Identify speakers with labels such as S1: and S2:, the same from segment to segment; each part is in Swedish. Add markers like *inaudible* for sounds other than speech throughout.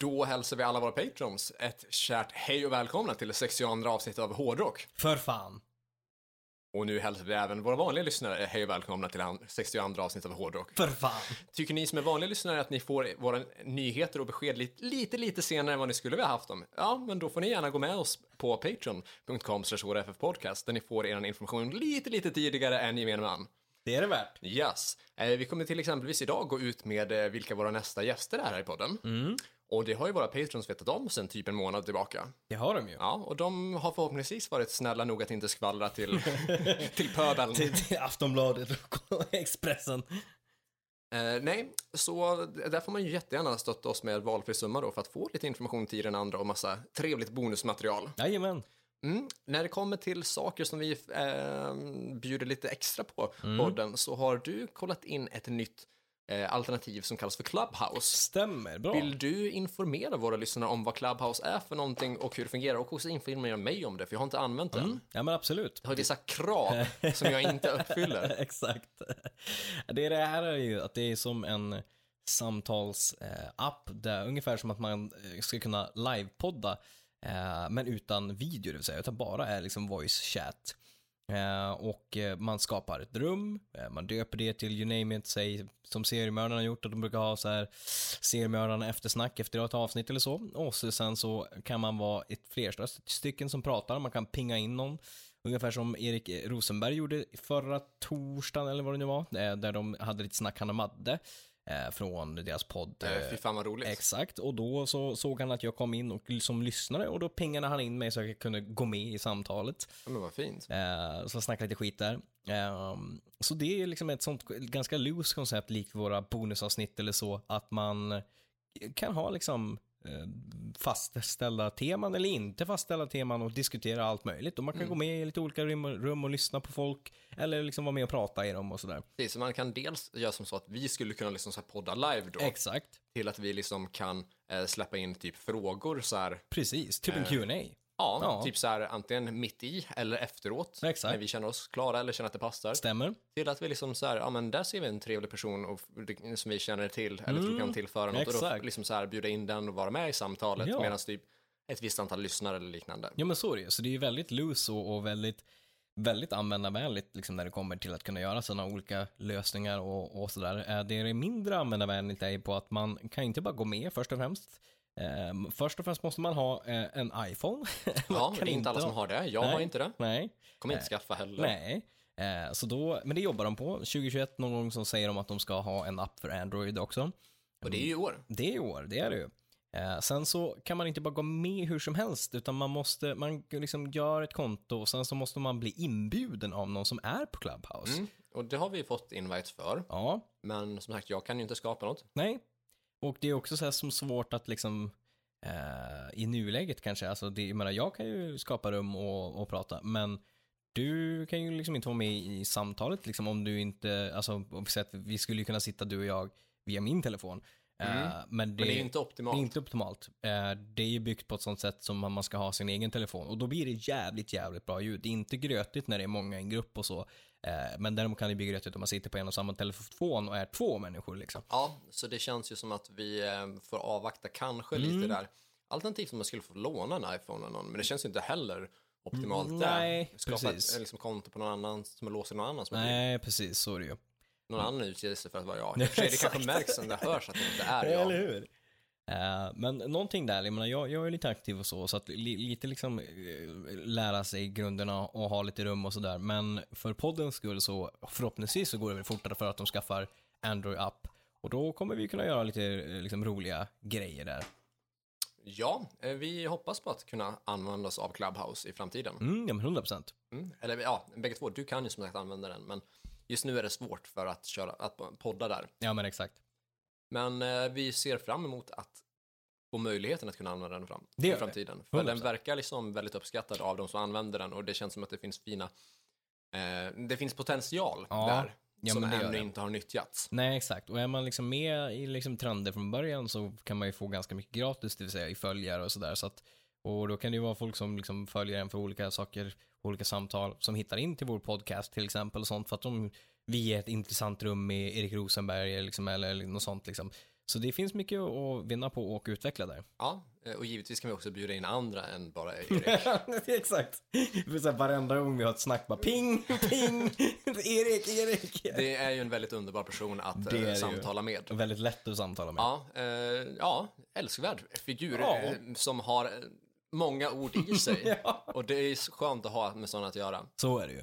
S1: Då hälsar vi alla våra patrons ett kärt hej och välkomna till 62 avsnitt av Hårdrock.
S2: För fan.
S1: Och nu hälsar vi även våra vanliga lyssnare hej och välkomna till 62 avsnitt av Hårdrock.
S2: För fan.
S1: Tycker ni som är vanliga lyssnare att ni får våra nyheter och besked lite, lite, lite senare än vad ni skulle vilja haft dem? Ja, men då får ni gärna gå med oss på patreon.com podcast där ni får er information lite, lite tidigare än gemene man.
S2: Det är det värt.
S1: Yes. Eh, Vi kommer till exempelvis idag gå ut med eh, vilka våra nästa gäster är här i podden.
S2: Mm.
S1: Och det har ju våra patrons vetat om sedan typ en månad tillbaka.
S2: Det har de ju.
S1: Ja, och de har förhoppningsvis varit snälla nog att inte skvallra till, till pöbeln.
S2: Till, till Aftonbladet och Expressen.
S1: Eh, nej, så där får man ju jättegärna stötta oss med valfri summa då för att få lite information till den andra och massa trevligt bonusmaterial.
S2: Jajamän.
S1: Mm. När det kommer till saker som vi eh, bjuder lite extra på podden så har du kollat in ett nytt eh, alternativ som kallas för Clubhouse.
S2: Stämmer. Bra.
S1: Vill du informera våra lyssnare om vad Clubhouse är för någonting och hur det fungerar och också informera mig om det, för jag har inte använt den.
S2: Ja men absolut.
S1: Jag har vissa krav som jag inte uppfyller.
S2: *laughs* Exakt. Det, är det här är ju att det är som en samtalsapp där ungefär som att man eh, ska kunna livepodda eh, men utan video, det vill säga utan bara är liksom voice chat. Eh, Och eh, man skapar ett rum, eh, man döper det till you name it, säg som seriemördarna har gjort, att de brukar ha så här seriemördarna eftersnack efter ett avsnitt eller så. Och så, sen så kan man vara ett flertal stycken som pratar, man kan pinga in någon. Ungefär som Erik Rosenberg gjorde förra torsdagen eller vad det nu var, eh, där de hade lite snack han och Madde eh, från deras podd. eh,
S1: Eh, Fy fan vad roligt.
S2: Exakt, och då så såg han att jag kom in och, som lyssnare och då pingade han in mig så att jag kunde gå med i samtalet.
S1: Ja, Men vad fint.
S2: Eh, så snackade lite skit där. Ehm, så det är liksom ett sånt ganska loose koncept likt våra bonusavsnitt eller så, att man kan ha liksom eh, fastställda teman eller inte fastställda teman och diskutera allt möjligt. Och man kan gå med i lite olika rum och, rum och lyssna på folk eller liksom vara med och prata i dem och sådär.
S1: Precis, så man kan dels göra som så att vi skulle kunna liksom så här podda live då,
S2: Exakt,
S1: till att vi liksom kan eh, släppa in typ frågor så här,
S2: precis. Typ en Q&A.
S1: ja,
S2: Ja.
S1: typ så här antingen mitt i eller efteråt,
S2: Exakt.
S1: när vi känner oss klara eller känner att det passar.
S2: Stämmer.
S1: Till att vi liksom så här, ja men där ser vi en trevlig person och, som vi känner till eller tror kan tillföra något och
S2: Mm. exakt.
S1: då liksom så här bjuda in den och vara med i samtalet
S2: Ja.
S1: medan typ ett visst antal lyssnare eller liknande.
S2: Ja men så är det ju. Så det är ju väldigt loose och, och väldigt, väldigt användarvänligt liksom, när det kommer till att kunna göra sådana olika lösningar och, och sådär. Eh, Det är det mindre användarvänligt är ju på att man kan inte bara gå med först och främst. Eh, Först och främst måste man ha eh, en iPhone. Man
S1: *laughs* Ja,
S2: kan
S1: det är inte alla som har det. Jag
S2: Nej.
S1: har inte det.
S2: Nej.
S1: Kommer inte skaffa heller.
S2: Nej. Eh, Så då, men det jobbar de på. 2021 någon gång så säger de att de ska ha en app för Android också.
S1: Och det är ju i år.
S2: Det är i år, det är det ju. Eh, sen så kan man inte bara gå med hur som helst, utan man måste, man liksom gör ett konto och sen så måste man bli inbjuden av någon som är på Clubhouse.
S1: Mm. Och det har vi fått invites för.
S2: Ja,
S1: Men som sagt, jag kan ju inte skapa något.
S2: nej. Och det är också så här som svårt att liksom eh, i nuläget kanske, alltså det, jag menar jag kan ju skapa rum och, och prata, men du kan ju liksom inte vara med i samtalet liksom om du inte, alltså om vi säger att vi skulle ju kunna sitta du och jag via min telefon. Eh, men, det,
S1: Men det är ju inte optimalt.
S2: Det är inte optimalt. Eh, Det är ju byggt på ett sånt sätt som man man ska ha sin egen telefon och då blir det jävligt, jävligt bra ljud. Det är inte grötigt när det är många i en grupp och så, eh, men däremot kan det bli grötigt om man sitter på en och samma telefon och är två människor liksom.
S1: Ja, så det känns ju som att vi eh, får avvakta kanske
S2: Mm.
S1: lite där. Alternativt om man skulle få låna en iPhone av någon, men det känns ju inte heller optimalt
S2: Mm,
S1: där.
S2: nej,
S1: Skapa
S2: precis.
S1: ett eh, liksom, konto på någon annan som är låst i någon annans mobil.
S2: Nej, precis, så är det ju.
S1: Någon annan utger sig för att vara jag. I och för sig, det
S2: exakt.
S1: kanske märks när det hörs att det inte är jag.
S2: hur? Eh, men någonting där, jag, menar, jag, jag är lite aktiv och så, så att li, lite liksom eh, lära sig grunderna och ha lite rum och sådär. Men för poddens skull så förhoppningsvis så går det väl fortare för att de skaffar Android-app. Och då kommer vi kunna göra lite eh, liksom, roliga grejer där.
S1: Ja, eh, vi hoppas på att kunna använda oss av Clubhouse i framtiden.
S2: Mm, ja men 100 procent.
S1: Mm. Eller ja, bägge två, du kan ju som sagt använda den, men just nu är det svårt för att, köra, att podda där.
S2: Ja men exakt.
S1: Men eh, vi ser fram emot att få möjligheten att kunna använda den fram,
S2: Det gör
S1: i
S2: vi.
S1: framtiden. För den
S2: 100%.
S1: verkar liksom väldigt uppskattad av de som använder den och det känns som att det finns fina, eh, det finns potential
S2: Ja,
S1: där
S2: ja,
S1: som
S2: men det gör
S1: ännu
S2: det.
S1: inte har nyttjats.
S2: Nej, exakt. Och är man liksom med i liksom trender från början så kan man ju få ganska mycket gratis, det vill säga i följare och sådär. Så att- och då kan det ju vara folk som liksom följer en för olika saker, olika samtal, som hittar in till vår podcast till exempel och sånt för att de, vi är ett intressant rum med Erik Rosenberg liksom, eller något sånt liksom. Så det finns mycket att vinna på och utveckla där.
S1: Ja, eh, och givetvis kan vi också bjuda in andra än bara Erik.
S2: *laughs* Exakt. Det är så här, varenda gång vi har ett snack bara ping, ping, *laughs* Erik, Erik.
S1: Det är ju en väldigt underbar person att eh,
S2: Det är det ju.
S1: samtala med.
S2: Väldigt lätt att samtala med.
S1: Ja, eh, ja älskvärd figur
S2: Ja.
S1: eh, som har eh, många ord i sig.
S2: *laughs* Ja.
S1: Och det är så skönt att ha med sådana att göra,
S2: Så är det ju.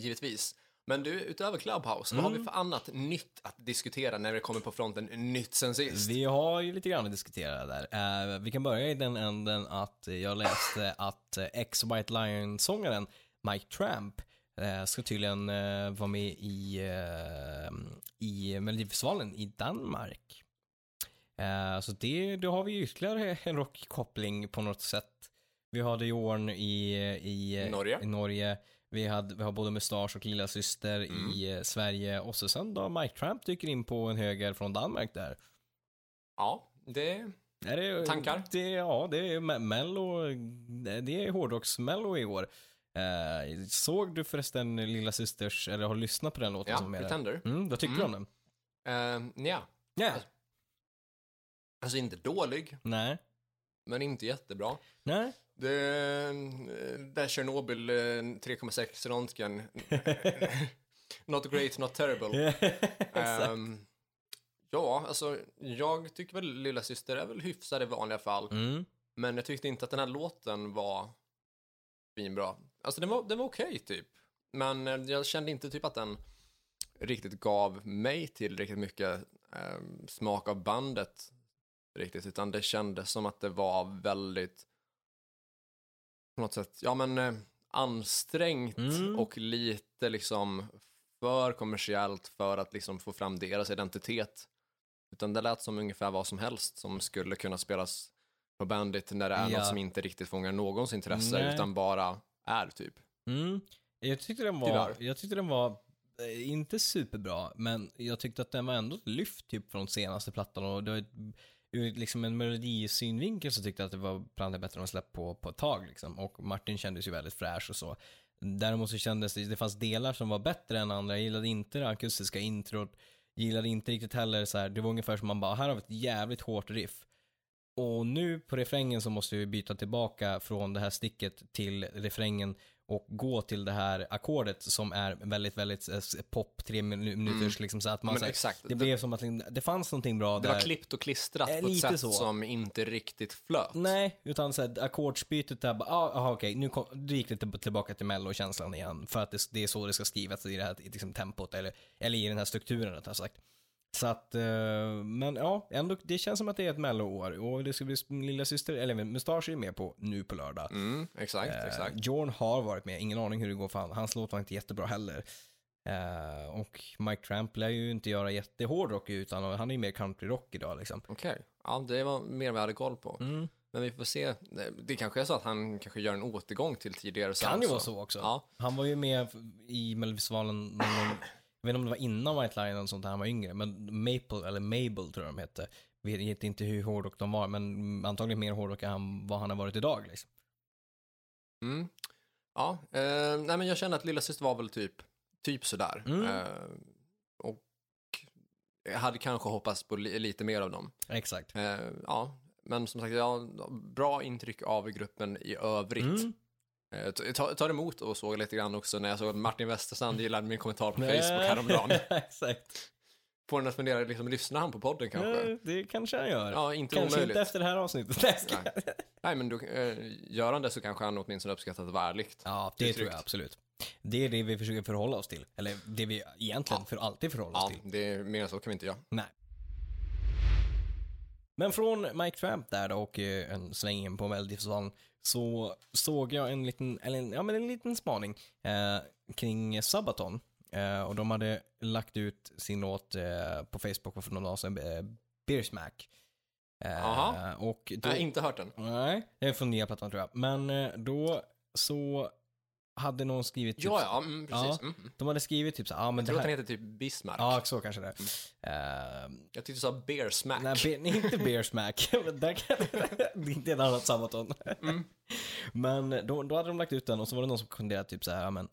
S1: givetvis. Men du, utöver Clubhouse, vad har
S2: Mm.
S1: vi för annat nytt att diskutera när vi kommer på fronten nytt sen sist?
S2: Vi har ju lite grann att diskutera där. Eh, vi kan börja i den änden att
S1: *laughs*
S2: jag läste att eh, ex-White Lion-sångaren Mike Tramp eh, ska tydligen eh, vara med i, eh, i Melodifestivalen i Danmark. Eh, så det, då har vi ju ytterligare en rockkoppling på något sätt. Vi hade Jorn i, i, eh,
S1: Norge.
S2: i Norge. Vi, hade, vi har både Mustasch och Lilla Syster
S1: Mm.
S2: i eh, Sverige och så sen då Mike Tramp dyker in på en höger från Danmark där.
S1: Ja, det...
S2: Är det,
S1: Tankar?
S2: Det, ja, det är me- mello, det är hårdrocks-mello i år. Eh, såg du förresten Lilla Systers, eller har lyssnat på den låten
S1: Ja,
S2: som är Mm. med där?
S1: Pretender.
S2: Mm, vad tycker du om den?
S1: Uh, ja,
S2: Ja.
S1: alltså inte dålig,
S2: Nej.
S1: men inte jättebra.
S2: Nej.
S1: Det, eh, där Tjernobyl eh, 3,6
S2: *laughs*
S1: röntgen. not great, not terrible.
S2: *laughs*
S1: Ehm, ja, alltså jag tycker väl Lilla Syster är väl hyfsad i vanliga fall.
S2: mm.
S1: Men jag tyckte inte att den här låten var finbra. Alltså den var, den var okej typ. Men eh, jag kände inte typ att den riktigt gav mig tillräckligt mycket eh, smak av bandet riktigt. Utan det kändes som att det var väldigt på något sätt, ja men eh, ansträngt
S2: Mm.
S1: och lite liksom för kommersiellt för att liksom få fram deras identitet. Utan det lät som ungefär vad som helst som skulle kunna spelas på Bandit när det är
S2: Ja.
S1: något som inte riktigt fångar någons intresse
S2: Nej.
S1: utan bara är typ.
S2: Mm. Jag tyckte den var,
S1: Tyvärr.
S2: jag tyckte den var eh, inte superbra, men jag tyckte att den var ändå ett lyft typ från senaste plattan och det var ett, ur liksom en melodisynvinkel så tyckte jag att det var bland det bättre de släppt på, på ett tag liksom. Och Martin kändes ju väldigt fräsch och så. Däremot så kändes det, det fanns delar som var bättre än andra. Jag gillade inte det akustiska introt, gillade inte riktigt heller så här, det var ungefär som man bara, här har vi ett jävligt hårt riff. Och nu på refrängen så måste vi byta tillbaka från det här sticket till refrängen och gå till det här ackordet som är väldigt, väldigt eh, pop, tre minu- minuters liksom så att man
S1: Mm. Men
S2: så här,
S1: exakt.
S2: det,
S1: Det-
S2: blev som att det fanns någonting bra
S1: Det
S2: där.
S1: var klippt och klistrat
S2: Eh,
S1: på ett
S2: lite
S1: sätt
S2: så.
S1: som inte riktigt flöt.
S2: Nej, utan så här, ackordsbytet där bara, ah, aha, okej, nu kom, du gick det till- tillbaka till mellokänslan igen för att det, det är så det ska skrivas i det här liksom, tempot eller, eller i den här strukturen rättare sagt. Så att, eh, men ja, ändå, det känns som att det är ett melloår och det ska bli lilla syster, eller Mustasch är med på nu på lördag.
S1: Mm, exakt,
S2: Eh,
S1: exakt.
S2: Jorn har varit med, ingen aning hur det går för han. Hans låt var inte jättebra heller. Eh, och Mike Tramp lär ju inte göra jättehård rock utan han är ju mer countryrock idag liksom.
S1: Okej, ja det var mer vad jag hade koll på.
S2: Mm.
S1: Men vi får se. Det kanske är så att han kanske gör en återgång till tidigare
S2: Kan
S1: sound,
S2: ju vara så också.
S1: Ja.
S2: Han var ju med i Melodifestivalen, någon- jag vet inte om det var innan White Lion eller sånt när han var yngre, men Maple, eller Mabel tror jag de hette. Vet vet inte hur hårdrock de var, men antagligen mer hårdrock än vad han har varit idag. Liksom.
S1: Mm. Ja, eh, nej men jag känner att lilla syster var väl typ, typ sådär.
S2: Mm.
S1: Eh, och jag hade kanske hoppats på li- lite mer av dem.
S2: Exakt.
S1: Eh, ja, men som sagt, jag har bra intryck av gruppen i övrigt.
S2: Mm.
S1: Eh, t- ta- tar emot och såg lite grann också när jag såg att Martin Westerstrand gillade min kommentar på
S2: Nej.
S1: Facebook
S2: *laughs*
S1: häromdagen. *laughs*
S2: Exakt.
S1: Får en att fundera, liksom, lyssnar han på podden kanske?
S2: Kanske. Det kanske han gör.
S1: Ja, inte
S2: kanske
S1: omöjligt.
S2: inte efter det här avsnittet. Nej, ska-
S1: Nej. Nej, men då, eh, gör han det så kanske han åtminstone uppskattar att vara ärligt.
S2: Ja, det,
S1: Det är
S2: tror jag
S1: tryggt.
S2: absolut. Det är det vi försöker förhålla oss till. Eller det vi egentligen för alltid förhåller oss
S1: Ja,
S2: till.
S1: det är mer än så kan vi inte göra.
S2: Nej. Men från Mike Tramp där då och eh, en sväng in på Melodifestivalen så såg jag en liten, eller en, ja men en liten spaning eh, kring Sabaton. Eh, och de hade lagt ut sin låt eh, på Facebook för några dagar sedan, eh, Beersmack.
S1: Aha.
S2: och då,
S1: Jag har inte hört den.
S2: nej, det är från nya plattan tror jag. Men eh, då så hade någon skrivit typ,
S1: Ja, ja, mm, precis.
S2: Ja.
S1: Mm. mm.
S2: de hade skrivit typ så här, ah,
S1: Jag
S2: men det
S1: tror att Mm.
S2: här,
S1: den heter typ Bismarck.
S2: ja så kanske det. är. Eh,
S1: Jag tyckte du sa Bear Smack.
S2: Nej, be, nej, inte beer smack. *laughs* Men där kan, det är inte ett annat sabaton.
S1: Mm.
S2: Men då, då hade de lagt ut den och så var det någon som kunde typ så här, ja men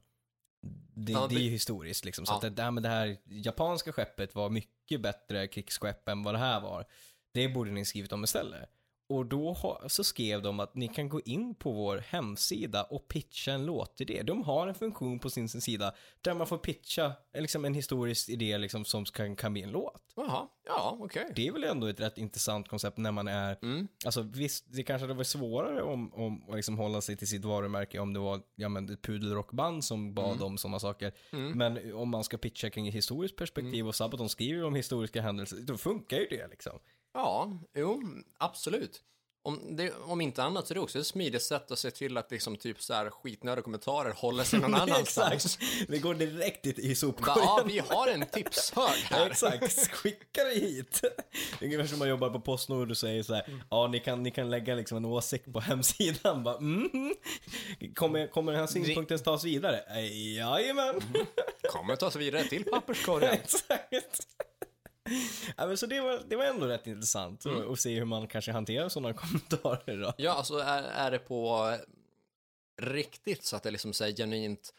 S2: Det,
S1: Ja,
S2: det är
S1: det-
S2: ju historiskt liksom. Så
S1: Ja.
S2: att det, ja, men det här japanska skeppet var mycket bättre krigsskepp än vad det här var. Det borde ni skrivit om istället. Och då ha, så skrev de att ni kan gå in på vår hemsida och pitcha en låt i det. De har en funktion på sin, sin sida där man får pitcha eh, liksom, en historisk idé liksom, som kan, kan bli en låt.
S1: Jaha, ja, okej.
S2: Det är väl ändå ett rätt intressant koncept när man är,
S1: Mm.
S2: alltså visst, det kanske hade varit svårare om, om att liksom hålla sig till sitt varumärke om det var, ja men ett pudelrockband som bad
S1: Mm.
S2: om sådana saker. Men om man ska pitcha kring ett historiskt perspektiv
S1: Mm.
S2: och Sabaton skriver om historiska händelser, då funkar ju det liksom.
S1: Ja, jo, absolut. Om, det, om inte annat så är det också ett smidigt sätt att se till att liksom typ så här skitnödiga kommentarer håller sig
S2: *laughs*
S1: någon annanstans.
S2: Exakt, det går direkt i, i
S1: Bara, ja,
S2: sopkorgen.
S1: vi har en tipshög
S2: Ja,
S1: här.
S2: *laughs* exakt, skicka det hit. Mm. Det är Ungefär som man jobbar på Postnord och säger så här, ja ni kan, ni kan lägga liksom en åsikt på hemsidan. Bara, mm. kommer, kommer den här synpunkten tas vidare? Eh, Jajamän,
S1: Kommer ta oss vidare till papperskorgen.
S2: *laughs* exakt. Ja, men så det var, det var ändå rätt intressant att- att se hur man kanske hanterar sådana *laughs* kommentarer då.
S1: Ja, alltså är, är det på eh, riktigt så att det liksom säger genuint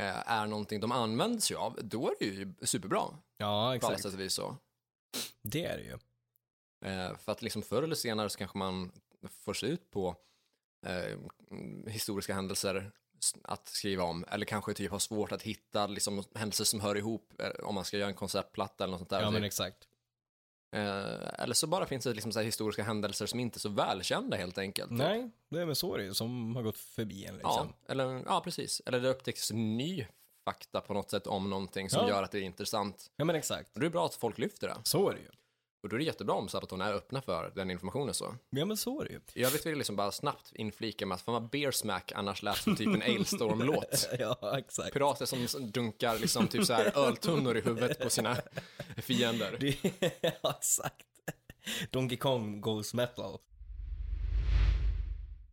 S1: eh, är någonting de använder sig av, då är det ju superbra på
S2: Ja,
S1: alla
S2: exakt.
S1: sätt och vis så.
S2: Alltså, Det är det ju.
S1: Eh, för att liksom förr eller senare så kanske man får se ut på eh, mm, historiska händelser s- att skriva om, eller kanske typ har svårt att hitta liksom, händelser som hör ihop eh, om man ska göra en konceptplatta eller något sånt där.
S2: Ja, men
S1: typ.
S2: exakt.
S1: eh, eller så bara finns det liksom så här historiska händelser som inte är så välkända helt enkelt.
S2: Nej, det är väl så det är ju, som har gått förbi en liksom.
S1: Ja, eller, ja, precis. Eller det upptäcks ny fakta på något sätt om någonting som
S2: Ja.
S1: gör att det är intressant.
S2: ja men exakt.
S1: Och det är bra att folk lyfter det.
S2: Så är det ju.
S1: Och då är det jättebra om Sabaton är öppna för den informationen så.
S2: Ja, men så är det *laughs* ju.
S1: I övrigt vill jag liksom bara snabbt inflika med att fan vad Beersmack annars lät som
S2: *laughs*
S1: typ en Ailstorm-låt.
S2: Ja, exakt.
S1: Pirater som dunkar liksom typ så här öltunnor i huvudet på sina fiender.
S2: *laughs* Det, ja, exakt. Donkey Kong goes metal.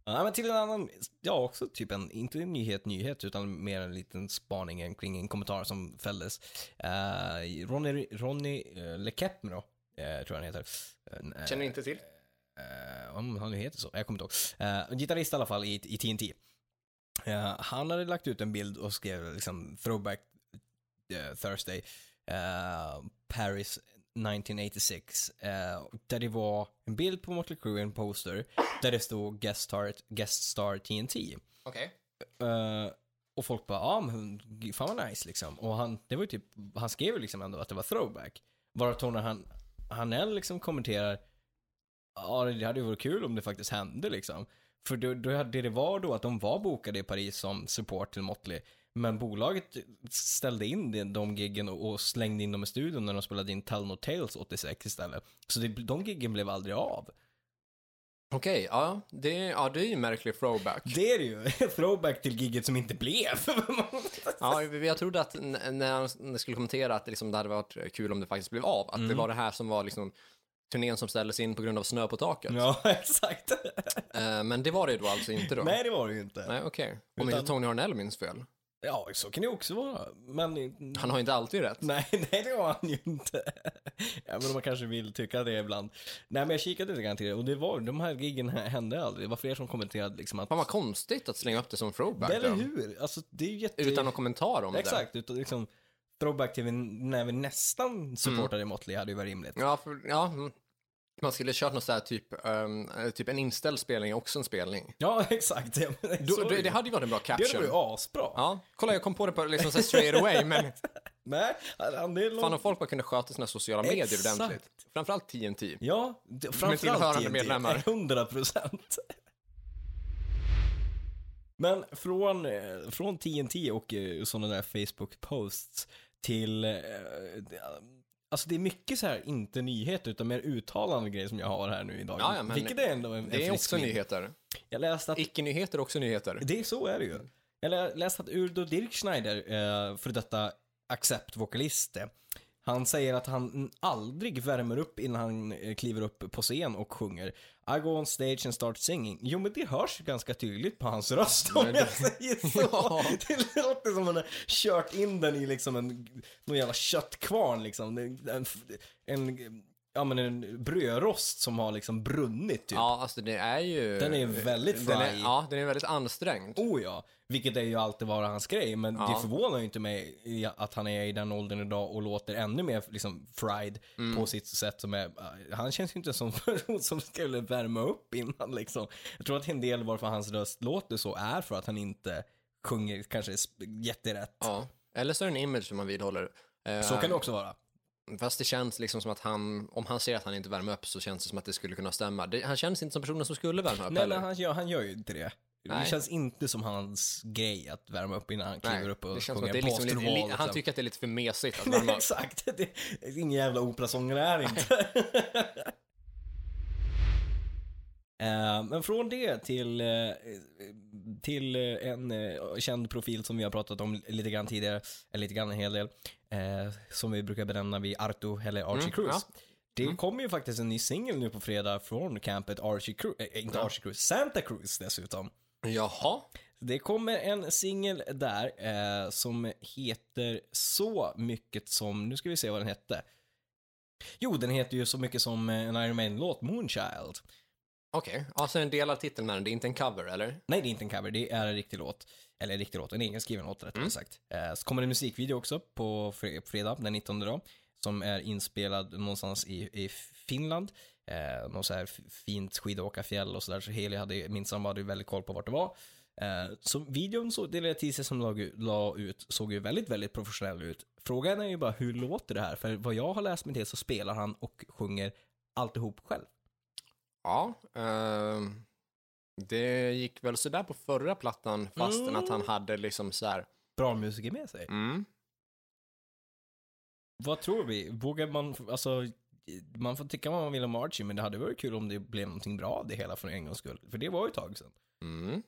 S2: Ja, men till en annan, ja också typ en, inte en nyhet nyhet, utan mer en liten spaning en- kring en kommentar som fälldes. Eh, Ronny, Ronny uh, Lekepmero, eh, tror jag han heter. Eh,
S1: Känner inte till?
S2: eh, om han nu heter så, jag kommer inte ihåg. Eh, en gitarrist i alla fall i, i TNT. Eh, han hade lagt ut en bild och skrev liksom throwback eh, Thursday, eh, Paris 1986, eh, där det var en bild på Motley Crue, en poster, där det stod guest star, guest star TNT.
S1: Okej.
S2: Eh, och folk bara, ja men fan vad nice liksom. Och han, det var ju typ, han skrev ju liksom ändå att det var throwback. Varav Tony han, Hanell liksom kommenterar, ja det hade ju varit kul om det faktiskt hände liksom. För då, då, hade- det det var då att de var bokade i Paris som support till Motley. Men bolaget ställde in de, de giggen och, och slängde in dem i studion när de spelade in Tell No Tales 86 istället. Så det, de giggen blev aldrig av.
S1: Okej, ja, det, ja, det är ju en märklig throwback.
S2: Det är det ju, *laughs* throwback till gigget som inte blev. *laughs*
S1: Ja, jag trodde att n- när han skulle kommentera att det, liksom, det hade varit kul om det faktiskt blev av, att
S2: Mm.
S1: det var det här som var liksom turnén som ställdes in på grund av snö på taket.
S2: *laughs* ja, exakt.
S1: Eh, Men det var det ju då alltså inte då?
S2: Nej, det var det ju inte.
S1: Nej, okej. Om
S2: Utan-
S1: inte Tony Harnell minns fel.
S2: Ja, så kan det också vara. Men
S1: Han har ju inte alltid rätt.
S2: nej, *laughs* nej, det var han ju inte. Även om man kanske vill tycka det ibland. Nej, men jag kikade lite grann till det och det var, de här giggen här hände aldrig. Det var fler som kommenterade liksom att...
S1: Fan vad konstigt att slänga upp det som throwback.
S2: Eller
S1: då.
S2: hur? Alltså, det är ju jätte...
S1: Utan någon kommentar om det.
S2: Exakt, utan liksom throwback till när vi
S1: Mm.
S2: nästan supportade Motley hade ju varit rimligt.
S1: Ja, för, ja, mm. man skulle kört något så här typ, ehm, eh, typ en inställd spelning är också en spelning.
S2: Ja, *laughs* exakt. Ja, men,
S1: Då,
S2: så är
S1: det,
S2: ju.
S1: det hade ju varit en bra
S2: det hade
S1: caption.
S2: varit ju asbra.
S1: Ja, kolla jag kom på det på liksom så här straight
S2: *laughs*
S1: away, men
S2: Nej, han är långt
S1: fan om folk bara kunde sköta sina sociala medier
S2: Exakt.
S1: ordentligt. Framförallt TNT.
S2: Ja, det- framförallt
S1: tillhörande
S2: TNT.
S1: medlemmar.
S2: *laughs* 100 procent. Men från, eh, från TNT och sådana där Facebook-posts till, eh, det- alltså det är mycket så här, inte nyheter utan mer uttalande grejer som jag har här nu idag.
S1: Ja, ja, men
S2: Vilket är ändå en, en
S1: Det är
S2: frisk
S1: också
S2: vind.
S1: nyheter.
S2: Jag läste att
S1: Icke-nyheter är också nyheter.
S2: det är så är det ju. Jag lä- läste att Udo Dirkschneider, eh, för detta Accept-vokalist, eh, han säger att han aldrig värmer upp innan han eh, kliver upp på scen och sjunger I go on stage and start singing. Jo men det hörs ju ganska tydligt på hans röst om
S1: Men det-
S2: jag säger så.
S1: *laughs* Ja.
S2: Det låter som han har kört in den i liksom en, någon jävla köttkvarn liksom. En, en, en ja, men en brödrost som har liksom brunnit typ.
S1: Ja, alltså det är ju...
S2: Den är väldigt
S1: den är,
S2: fry.
S1: Ja, den är väldigt ansträngd.
S2: Oh ja, vilket är ju alltid vara hans grej, men
S1: Ja.
S2: det förvånar ju inte mig i att han är i den åldern idag och låter ännu mer liksom fried
S1: Mm.
S2: på sitt sätt som är, äh, han känns ju inte som *laughs* en person som skulle värma upp innan liksom. Jag tror att en del varför hans röst låter så är för att han inte sjunger kanske sp- jätterätt.
S1: Ja. Eller så är det en image som man vidhåller. Eh,
S2: Så kan det också vara.
S1: Fast det känns liksom som att han, om han ser att han inte värmer upp så känns det som att det skulle kunna stämma. Det, han känns inte som personen som skulle värma upp
S2: Nej,
S1: heller.
S2: men han, gör, han gör ju inte det.
S1: Nej.
S2: Det känns inte som hans grej att värma upp innan han kliver upp och
S1: det känns som
S2: sjunger
S1: att det är liksom
S2: After
S1: lite,
S2: All,
S1: li,
S2: liksom.
S1: han tycker att det är lite för mesigt
S2: *laughs*
S1: att
S2: Nej,
S1: värma upp.
S2: Exakt, det är ingen jävla operasångare
S1: *laughs*
S2: är det inte. Eh, Men från det till, eh, till eh, en eh, känd profil som vi har pratat om lite grann tidigare, eller lite grann en hel del, eh, som vi brukar benämna vid Arto eller Archie
S1: Mm,
S2: Cruz.
S1: ja.
S2: Det kommer ju faktiskt en ny singel nu på fredag från campet Archie Cruz, äh, inte Archie Cruz, Santa Cruz dessutom.
S1: Jaha,
S2: Det kommer en singel där eh, som heter så mycket som, nu ska vi se vad den hette. Jo, den heter ju så mycket som eh, en Iron Maiden-låt, Moonchild.
S1: okej. Alltså en del av titeln med den, det är inte en cover eller?
S2: Nej, det är inte en cover, det är en riktig låt. Eller en riktig låt, en egen skriven låt rättare sagt. Eh, så kommer det en musikvideo också på fre- fredag, den 19 då. Som är inspelad någonstans i, i Finland. Eh, någon så här f- fint skidåkarfjäll och sådär. Så Heli hade, minsann hade ju väldigt koll på vart det var. Eh, så videon så, det lilla teaser som la, la ut såg ju väldigt, väldigt professionell ut. Frågan är ju bara hur låter det här? För vad jag har läst mig till så spelar han och sjunger alltihop själv.
S1: Ja, ehm, det gick väl sådär på förra plattan fastän
S2: Mm.
S1: att han hade liksom så här,
S2: Bra musiker med sig.
S1: mm,
S2: Vad tror vi? Vågar man, alltså, man får tycka vad man vill om Archie, men det hade varit kul om det blev någonting bra av det hela för en gångs skull. För det var ju ett tag sedan.
S1: mm.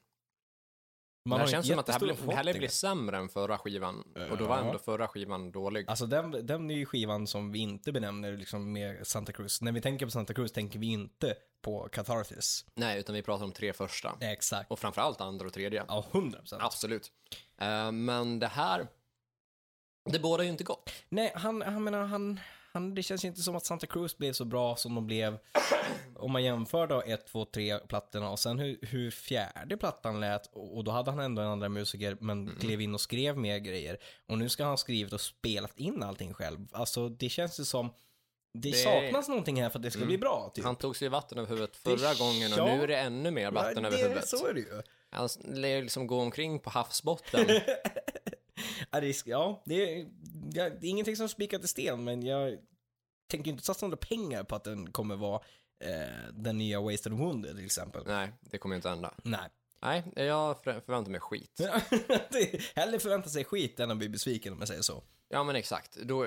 S2: Man
S1: det här
S2: har ju
S1: känns som att det här,
S2: jättestora
S1: blev, det här blev
S2: förhoppningar.
S1: sämre än förra skivan och då var
S2: Ja.
S1: ändå förra skivan dålig.
S2: Alltså den, den är ju skivan som vi inte benämner liksom med Santa Cruz. När vi tänker på Santa Cruz tänker vi inte på Catharsis.
S1: Nej, utan vi pratar om tre första
S2: Exakt.
S1: och framförallt andra och tredje.
S2: Ja, 100 procent.
S1: Absolut. Eh, men det här, det båda ju inte gott.
S2: Nej, han, han menar, han, han, det känns ju inte som att Santa Cruz blev så bra som de blev om man jämför då 1, 2, 3 plattorna och sen hur, hur fjärde plattan lät och, och då hade han ändå en andra musiker men
S1: Mm.
S2: klev in och skrev mer grejer och nu ska han ha skrivit och spelat in allting själv. Alltså det känns ju som det, saknas någonting här för att det ska bli bra. Typ.
S1: Han tog sig vatten över huvudet förra gången och
S2: ja.
S1: nu är det ännu mer vatten
S2: Ja,
S1: över
S2: det,
S1: huvudet.
S2: Så är det ju.
S1: Han s- liksom går omkring på
S2: *laughs*
S1: havsbotten.
S2: Ja, det, är- ja, det, är, ja, det är ingenting som är spikat i sten, men jag tänker ju inte satsa några pengar på att den kommer vara eh, den nya Wasted and Wounded till exempel.
S1: Nej, det kommer ju inte hända.
S2: Nej. *laughs*
S1: Nej, jag förvä- förväntar mig skit.
S2: Det är- Hellre förvänta sig skit än att bli besviken om jag säger så.
S1: Ja, men exakt. Då,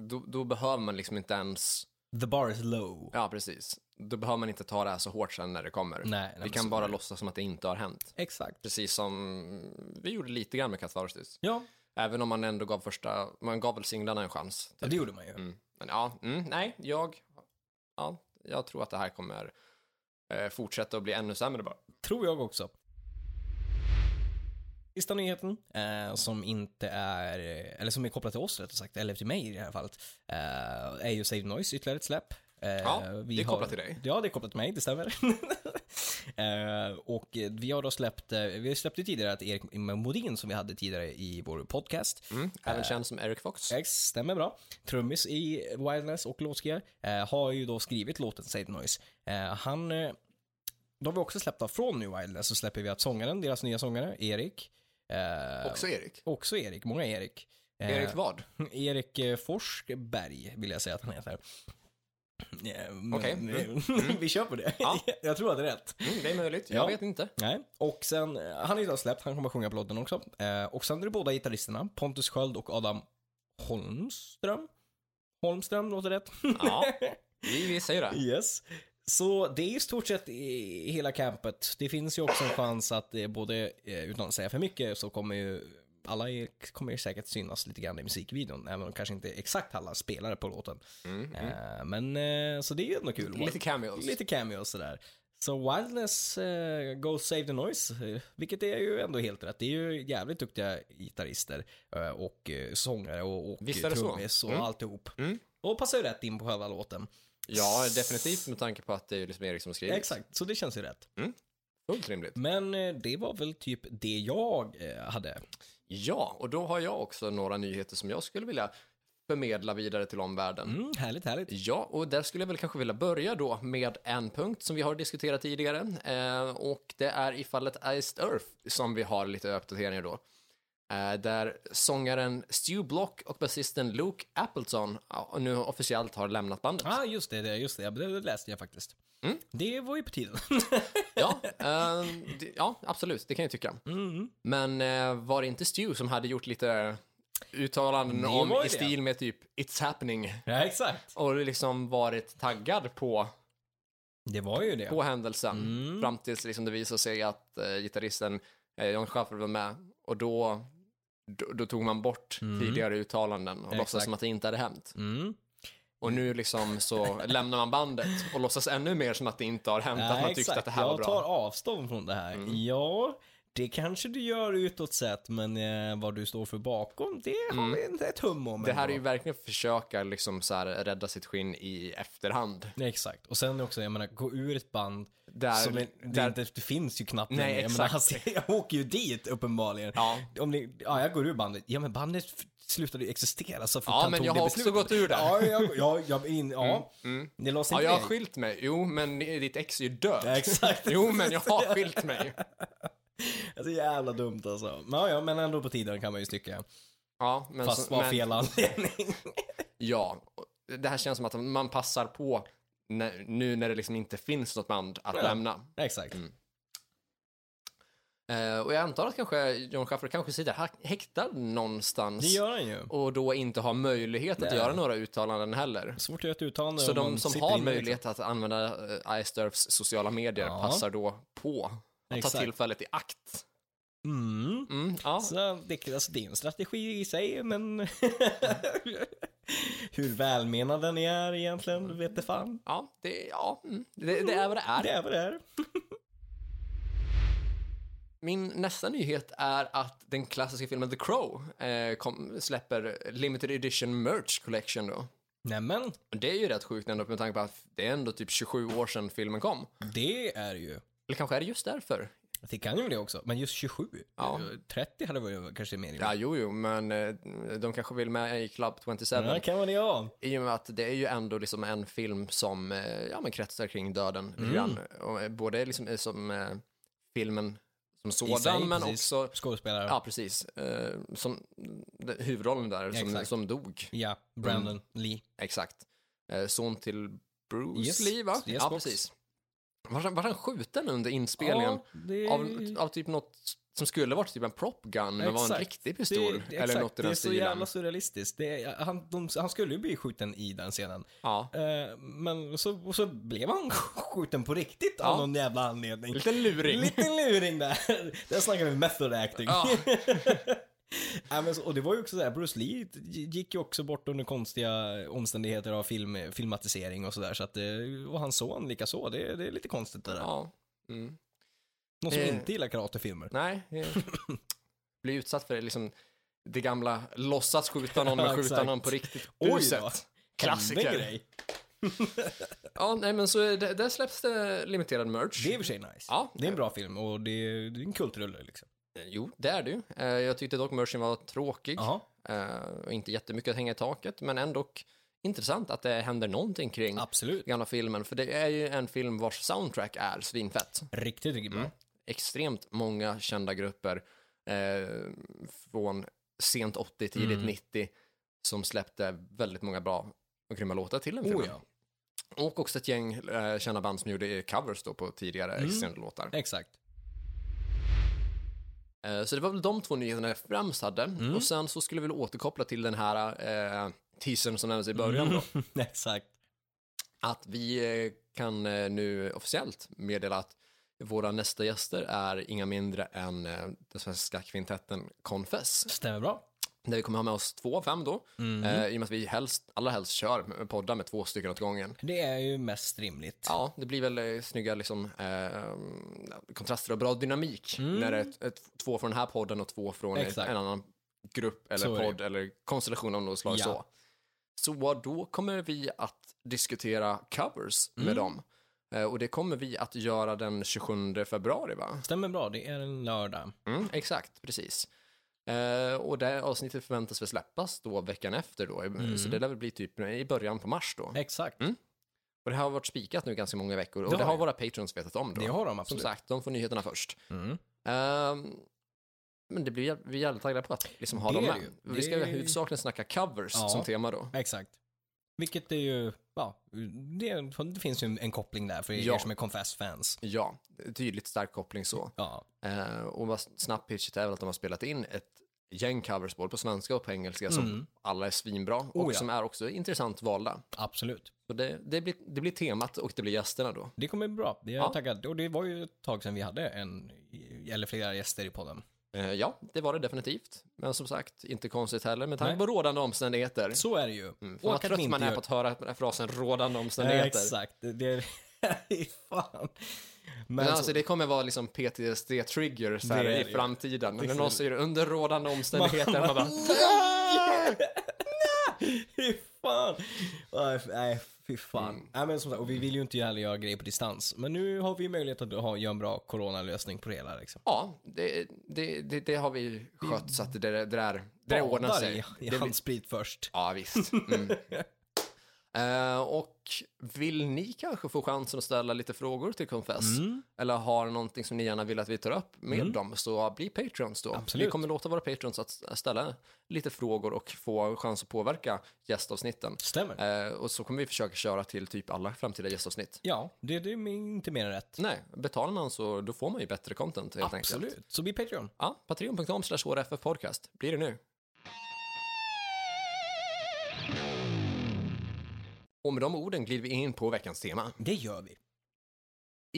S1: då, då behöver man liksom inte ens...
S2: The bar is low.
S1: Ja, precis. Då behöver man inte ta det här så hårt sen när det kommer.
S2: Nej, nej,
S1: vi
S2: men
S1: kan
S2: så
S1: bara
S2: är det.
S1: låtsas som att det inte har hänt.
S2: Exakt.
S1: Precis som vi gjorde lite grann med Catharsis.
S2: Ja,
S1: Även om man ändå gav första... Man gav väl singlarna en chans.
S2: ja, det gjorde man ju.
S1: Mm. Men ja, mm, nej, jag... Ja, jag tror att det här kommer eh, fortsätta att bli ännu sämre bara.
S2: Tror jag också. Sista nyheten, eh, som inte är, eh, eller som är kopplad till oss rättare sagt, eller till mig i det här fallet, eh, är ju Save Noise, ytterligare ett släpp. Eh,
S1: Ja, det är
S2: har-
S1: kopplat till dig.
S2: Ja, det är kopplat till mig, det stämmer. *laughs* eh, och eh, vi har då släppt, eh, vi släppte tidigare att Erik Modin som vi hade tidigare i vår podcast,
S1: Mm. Även känd som Eric Fox.
S2: X stämmer bra. Trummis i Wildness och låtskrivare eh, har ju då skrivit låten Save Noise. Eh, han, eh, då har vi också släppt av från nu Wildness så släpper vi att sångaren, deras nya sångare, Erik, eh,
S1: Också Erik.
S2: också Erik, många Erik. Eh,
S1: Erik vad?
S2: *laughs* Erik eh, Forsberg vill jag säga att han heter. Eh, *laughs* men-
S1: Okej. Mm.
S2: vi kör på det.
S1: Ja.
S2: *laughs* jag tror att det är rätt.
S1: Mm, det är möjligt, jag
S2: Ja.
S1: vet inte.
S2: Nej, och sen, eh, han är ju då släppt, han kommer sjunga på låten också. Eh, och sen är det båda gitarristerna, Pontus Sköld och Adam Holmström. Holmström låter rätt. *laughs*
S1: Ja, vi, vi säger det.
S2: yes. Så det är i stort sett i- hela campet. Det finns ju också en chans att eh, både, eh, utan att säga för mycket, så kommer ju alla är, kommer ju säkert synas lite grann i musikvideon, även om kanske inte exakt alla spelare på låten. Eh, men eh, så det är ju ändå kul.
S1: Lite cameos.
S2: Lite cameo och sådär. Så Wildness eh, Go Save the Noise, eh, vilket är ju ändå helt rätt. Det är ju jävligt duktiga gitarrister eh, och eh, sångare och, och
S1: Visst är det så?
S2: trummis och
S1: Mm.
S2: alltihop.
S1: Mm.
S2: Och passar ju rätt in på själva låten.
S1: Ja, definitivt med tanke på att det är liksom Erik som skriver.
S2: Exakt, så det känns ju rätt.
S1: Fullt rimligt.
S2: Men eh, det var väl typ det jag eh, hade.
S1: Ja, och då har jag också några nyheter som jag skulle vilja förmedla vidare till omvärlden.
S2: Mm, härligt, härligt.
S1: Ja, och där skulle jag väl kanske vilja börja då med en punkt som vi har diskuterat tidigare. Eh, och det är i fallet Iced Earth som vi har lite uppdateringar då. Eh, där sångaren Stu Block och basisten Luke Appleton ja, nu officiellt har lämnat
S2: *laughs*
S1: bandet.
S2: ah, just det, det- just det, Ja, det det läste jag faktiskt.
S1: Mm.
S2: Det var ju på tiden. *laughs*
S1: Ja, eh, det, ja, absolut, det kan jag tycka.
S2: Mm.
S1: Men eh, var det inte Stu som hade gjort lite uttalanden
S2: Det
S1: om
S2: var
S1: i
S2: ju det.
S1: stil med typ It's happening
S2: Ja, exakt.
S1: och liksom varit taggad på
S2: Det var ju det.
S1: på händelsen
S2: Mm.
S1: fram tills liksom det visade sig att eh, gitarristen eh, John Schaffer var med och då, då, då tog man bort
S2: Mm.
S1: tidigare uttalanden och låtsas
S2: Exakt.
S1: som att det inte hade hänt.
S2: Mm.
S1: Och nu liksom
S2: *laughs*
S1: så lämnar man bandet och låtsas ännu mer som att det inte har hänt, att man tyckte att det här
S2: jag
S1: var bra. Mm.
S2: tar avstånd från det här. Ja, det kanske du gör utåt sett, men eh, vad du står för bakom, det har vi inte ett hum om.
S1: Mm. Det här är
S2: ändå.
S1: ju verkligen att försöka liksom så här rädda sitt skinn i efterhand.
S2: Nej, Exakt. Och sen också, jag menar, gå ur ett band
S1: Där,
S2: som är, det,
S1: där,
S2: inte, det finns ju knappt
S1: Nej,
S2: längre. Jag, menar,
S1: exakt.
S2: han ser- *laughs* jag åker ju dit uppenbarligen.
S1: ja.
S2: Om ni, ja, jag går ur bandet. Ja, men bandet f- slutade ju existera så fort
S1: Ja,
S2: han
S1: men
S2: tog
S1: jag
S2: det
S1: har också
S2: beslutet.
S1: gått ur det.
S2: Ja, jag, jag, jag, in, ja. det lades
S1: ja,
S2: inte
S1: jag har
S2: ner.
S1: skilt mig. Jo, men ditt ex är ju död.
S2: Ja, exakt.
S1: Jo, men jag har skilt
S2: *laughs*
S1: mig.
S2: Alltså, jävla dumt alltså. Men, ja, ja, men ändå på tiden kan man ju stycka.
S1: Ja, men
S2: Fast
S1: så-
S2: var
S1: Alltså, men-
S2: fel anledning.
S1: Ja, och det här känns som att man passar på när, nu när det liksom inte finns något band att
S2: Ja.
S1: lämna.
S2: Exakt.
S1: Eh, och jag antar att kanske John Schaffer kanske sitter hak- häktad någonstans
S2: Det gör han ju.
S1: och då inte har möjlighet att
S2: Nej.
S1: göra några uttalanden heller.
S2: Svårt att göra ett uttalande
S1: Så
S2: om man
S1: de som
S2: sitter
S1: har
S2: inne, liksom.
S1: möjlighet att använda eh, Ice Earths sociala medier
S2: Ja.
S1: passar då på att ta
S2: Exakt.
S1: tillfället i akt.
S2: Liksom. Mm.
S1: Mm, ja.
S2: Så det, alltså, det är en strategi i
S1: *laughs*
S2: sig, men hur välmenad den är egentligen, vet det fan.
S1: Ja, det, ja, mm. det, det är vad det är.
S2: Det är vad det är.
S1: Min nästa nyhet är att den klassiska filmen The Crow eh, kom, släpper limited edition merch collection då.
S2: Nämen,
S1: Och Det är ju rätt sjukt ändå med tanke på att det är ändå typ 27 år sedan filmen kom.
S2: det är ju.
S1: Eller kanske är det just därför?
S2: Det kan ju vara det också, men just 27.
S1: Ja.
S2: 30 hade varit kanske mer
S1: Ja, jo, jo, men eh, de kanske vill med i Club 27.
S2: Ja, kan vara det ja.
S1: I och med att det är ju ändå liksom en film som eh, ja, men kretsar kring döden.
S2: Mm.
S1: lite grann. Och, eh, både liksom, eh, som eh, filmen som sådan, men
S2: precis.
S1: också...
S2: Skådespelare.
S1: Ja, precis. Eh, som, de- huvudrollen där, som,
S2: Exakt.
S1: som dog.
S2: Ja, Brandon
S1: Mm.
S2: Lee.
S1: Exakt. Eh, son till Bruce
S2: Yes.
S1: Lee, va?
S2: Yes,
S1: ja,
S2: box.
S1: precis. Var han, var han skjuten under inspelningen?
S2: Ja, det...
S1: Av, av typ något som skulle varit typ en propgun, men var en
S2: Exakt.
S1: riktig pistol.
S2: det,
S1: eller
S2: exakt,
S1: något i
S2: det är
S1: den
S2: så
S1: stilen.
S2: jävla surrealistiskt. Det är, han, de, han skulle ju bli skjuten i den scenen.
S1: Ja.
S2: Eh, men så, och så blev han *laughs* skjuten på riktigt
S1: Ja.
S2: av någon jävla anledning.
S1: Lite luring.
S2: Lite luring där. *laughs* Där snackar vi method acting.
S1: Ja.
S2: *laughs* Nej, men så, och det var ju också såhär, Bruce Lee gick ju också bort under konstiga omständigheter av film, filmatisering och sådär. Så att, eh, och hans son likaså, det, det är lite konstigt det där.
S1: ja. Mm.
S2: Någon som
S1: Eh.
S2: inte gillar karatefilmer.
S1: Nej.
S2: *laughs*
S1: eh, Bli utsatt för det, liksom, det gamla låtsas skjuta någon,
S2: Ja,
S1: men skjuta
S2: exakt.
S1: någon på riktigt.
S2: Oj då.
S1: Buset.
S2: Hände en
S1: Klassiker.
S2: grej.
S1: Ja, nej men så är det, där släpps det limiterad merch.
S2: Det är i och för sig nice.
S1: Ja.
S2: Det är en bra film och det är, det är en kultrulle liksom.
S1: Jo, det är det ju. Eh, Jag tyckte dock merchen var tråkig.
S2: Jaha,
S1: Eh, och inte jättemycket att hänga i taket, men ändå intressant att det händer någonting kring
S2: absolut.
S1: gamla filmen, för det är ju en film vars soundtrack är svinfett.
S2: Riktigt, riktigt bra.
S1: Extremt många kända grupper eh, från sent 80, tidigt
S2: Mm.
S1: 90 som släppte väldigt många bra och grymma låtar till den filmen.
S2: Oh ja,
S1: Och också ett gäng eh, kända band som gjorde covers då på tidigare
S2: Mm.
S1: existerande låtar.
S2: exakt.
S1: Eh, Så det var väl de två nyheterna jag främst hade.
S2: Mm.
S1: Och sen så skulle vi väl återkoppla till den här eh, teasern som nämndes i början då.
S2: *laughs* exakt.
S1: Att vi eh, kan eh, nu officiellt meddela att våra nästa gäster är inga mindre än eh, den svenska kvintetten Confess.
S2: Stämmer bra.
S1: Där vi kommer ha med oss två av fem då. Eh, I och med att vi helst, alla helst kör med poddar med två stycken åt gången.
S2: Det är ju mest rimligt.
S1: Ja, det blir väl eh, snygga liksom, eh, kontraster och bra dynamik när det är ett, ett, två från den här podden och två från ett,
S2: Mm. Exakt.
S1: en annan grupp eller
S2: Så är det.
S1: podd eller konstellation av något slag.
S2: Ja.
S1: Så. Så då kommer vi att diskutera covers med
S2: Mm.
S1: dem. Eh, Och det kommer vi att göra den 27 februari, va?
S2: Stämmer bra, det är en lördag.
S1: Mm, exakt, precis. Eh, och det här avsnittet förväntas väl släppas då veckan efter då, Eh,
S2: Mm.
S1: så det lär väl bli typ i början på mars då.
S2: Exakt.
S1: Och det har varit spikat nu ganska många veckor och
S2: Det
S1: det
S2: har
S1: har våra
S2: det.
S1: patrons vetat om då.
S2: Det har de
S1: Som
S2: absolut.
S1: sagt, de får nyheterna först.
S2: Mm.
S1: Ehm, men det blir jä- vi är jävligt taggade på att liksom ha
S2: Det
S1: dem
S2: är
S1: med.
S2: det ju.
S1: Vi ska
S2: Det-
S1: huvudsakligen snacka covers
S2: Ja.
S1: som tema då.
S2: Exakt. Vilket är ju, ja, det, det finns ju en, en koppling där för er
S1: Ja.
S2: som är Confess-fans.
S1: Ja, tydligt stark koppling så.
S2: Ja,
S1: Eh, och vad snabbt pitchet är väl att de har spelat in ett gäng covers både på svenska och på engelska som alla är svinbra och
S2: Mm. Oh ja.
S1: som är också intressant valda.
S2: absolut.
S1: Så det, det, blir, det blir temat och det blir gästerna då.
S2: Det kommer bli bra. Det är jag
S1: Ja.
S2: taggad. Och det var ju ett tag sedan vi hade en, eller flera gäster i podden.
S1: Eh, ja, det var det definitivt. Men som sagt, inte konstigt heller med tanke
S2: Nej.
S1: på rådande omständigheter.
S2: Så är det ju.
S1: Mm, Fan vad
S2: att ni
S1: trött
S2: inte
S1: man är
S2: gör-
S1: på att höra den här frasen rådande
S2: Ja,
S1: omständigheter.
S2: Exakt. Det, det *laughs* fan. Men,
S1: Men
S2: så-
S1: alltså, det kommer vara liksom PTSD-trigger så här
S2: Det är
S1: i
S2: det ju.
S1: framtiden. När någon säger under rådande omständigheter, man bara
S2: *laughs* Fy fan. Nej, Nej, fy fan.
S1: Mm.
S2: Nej, men som sagt, och vi vill ju inte heller göra grejer på distans. Men nu har vi möjlighet att ha, göra en bra coronalösning på det hela. Liksom.
S1: ja, det, det, det, det har vi skött så att det, det där, det där ordnar
S2: Badar
S1: sig.
S2: i, i
S1: Det-
S2: handsprit först.
S1: Ja, visst.
S2: *laughs*
S1: Mm. Eh, och vill ni kanske få chansen att ställa lite frågor till Confess?
S2: Mm.
S1: Eller har någonting som ni gärna vill att vi tar upp med dem, så bli patrons då.
S2: Absolut.
S1: Vi kommer låta våra patrons att ställa lite frågor och få chans att påverka gästavsnitten.
S2: Stämmer.
S1: Eh, och så kommer vi försöka köra till typ alla framtida gästavsnitt.
S2: Ja, det, det är inte mer än rätt.
S1: Nej, betalar man så då får man ju bättre content helt enkelt.
S2: Absolut. Så bli Patreon.
S1: Ja, patreon.com slash HRFF podcast blir det nu. Och med de orden glider vi in på veckans tema.
S2: Det gör vi.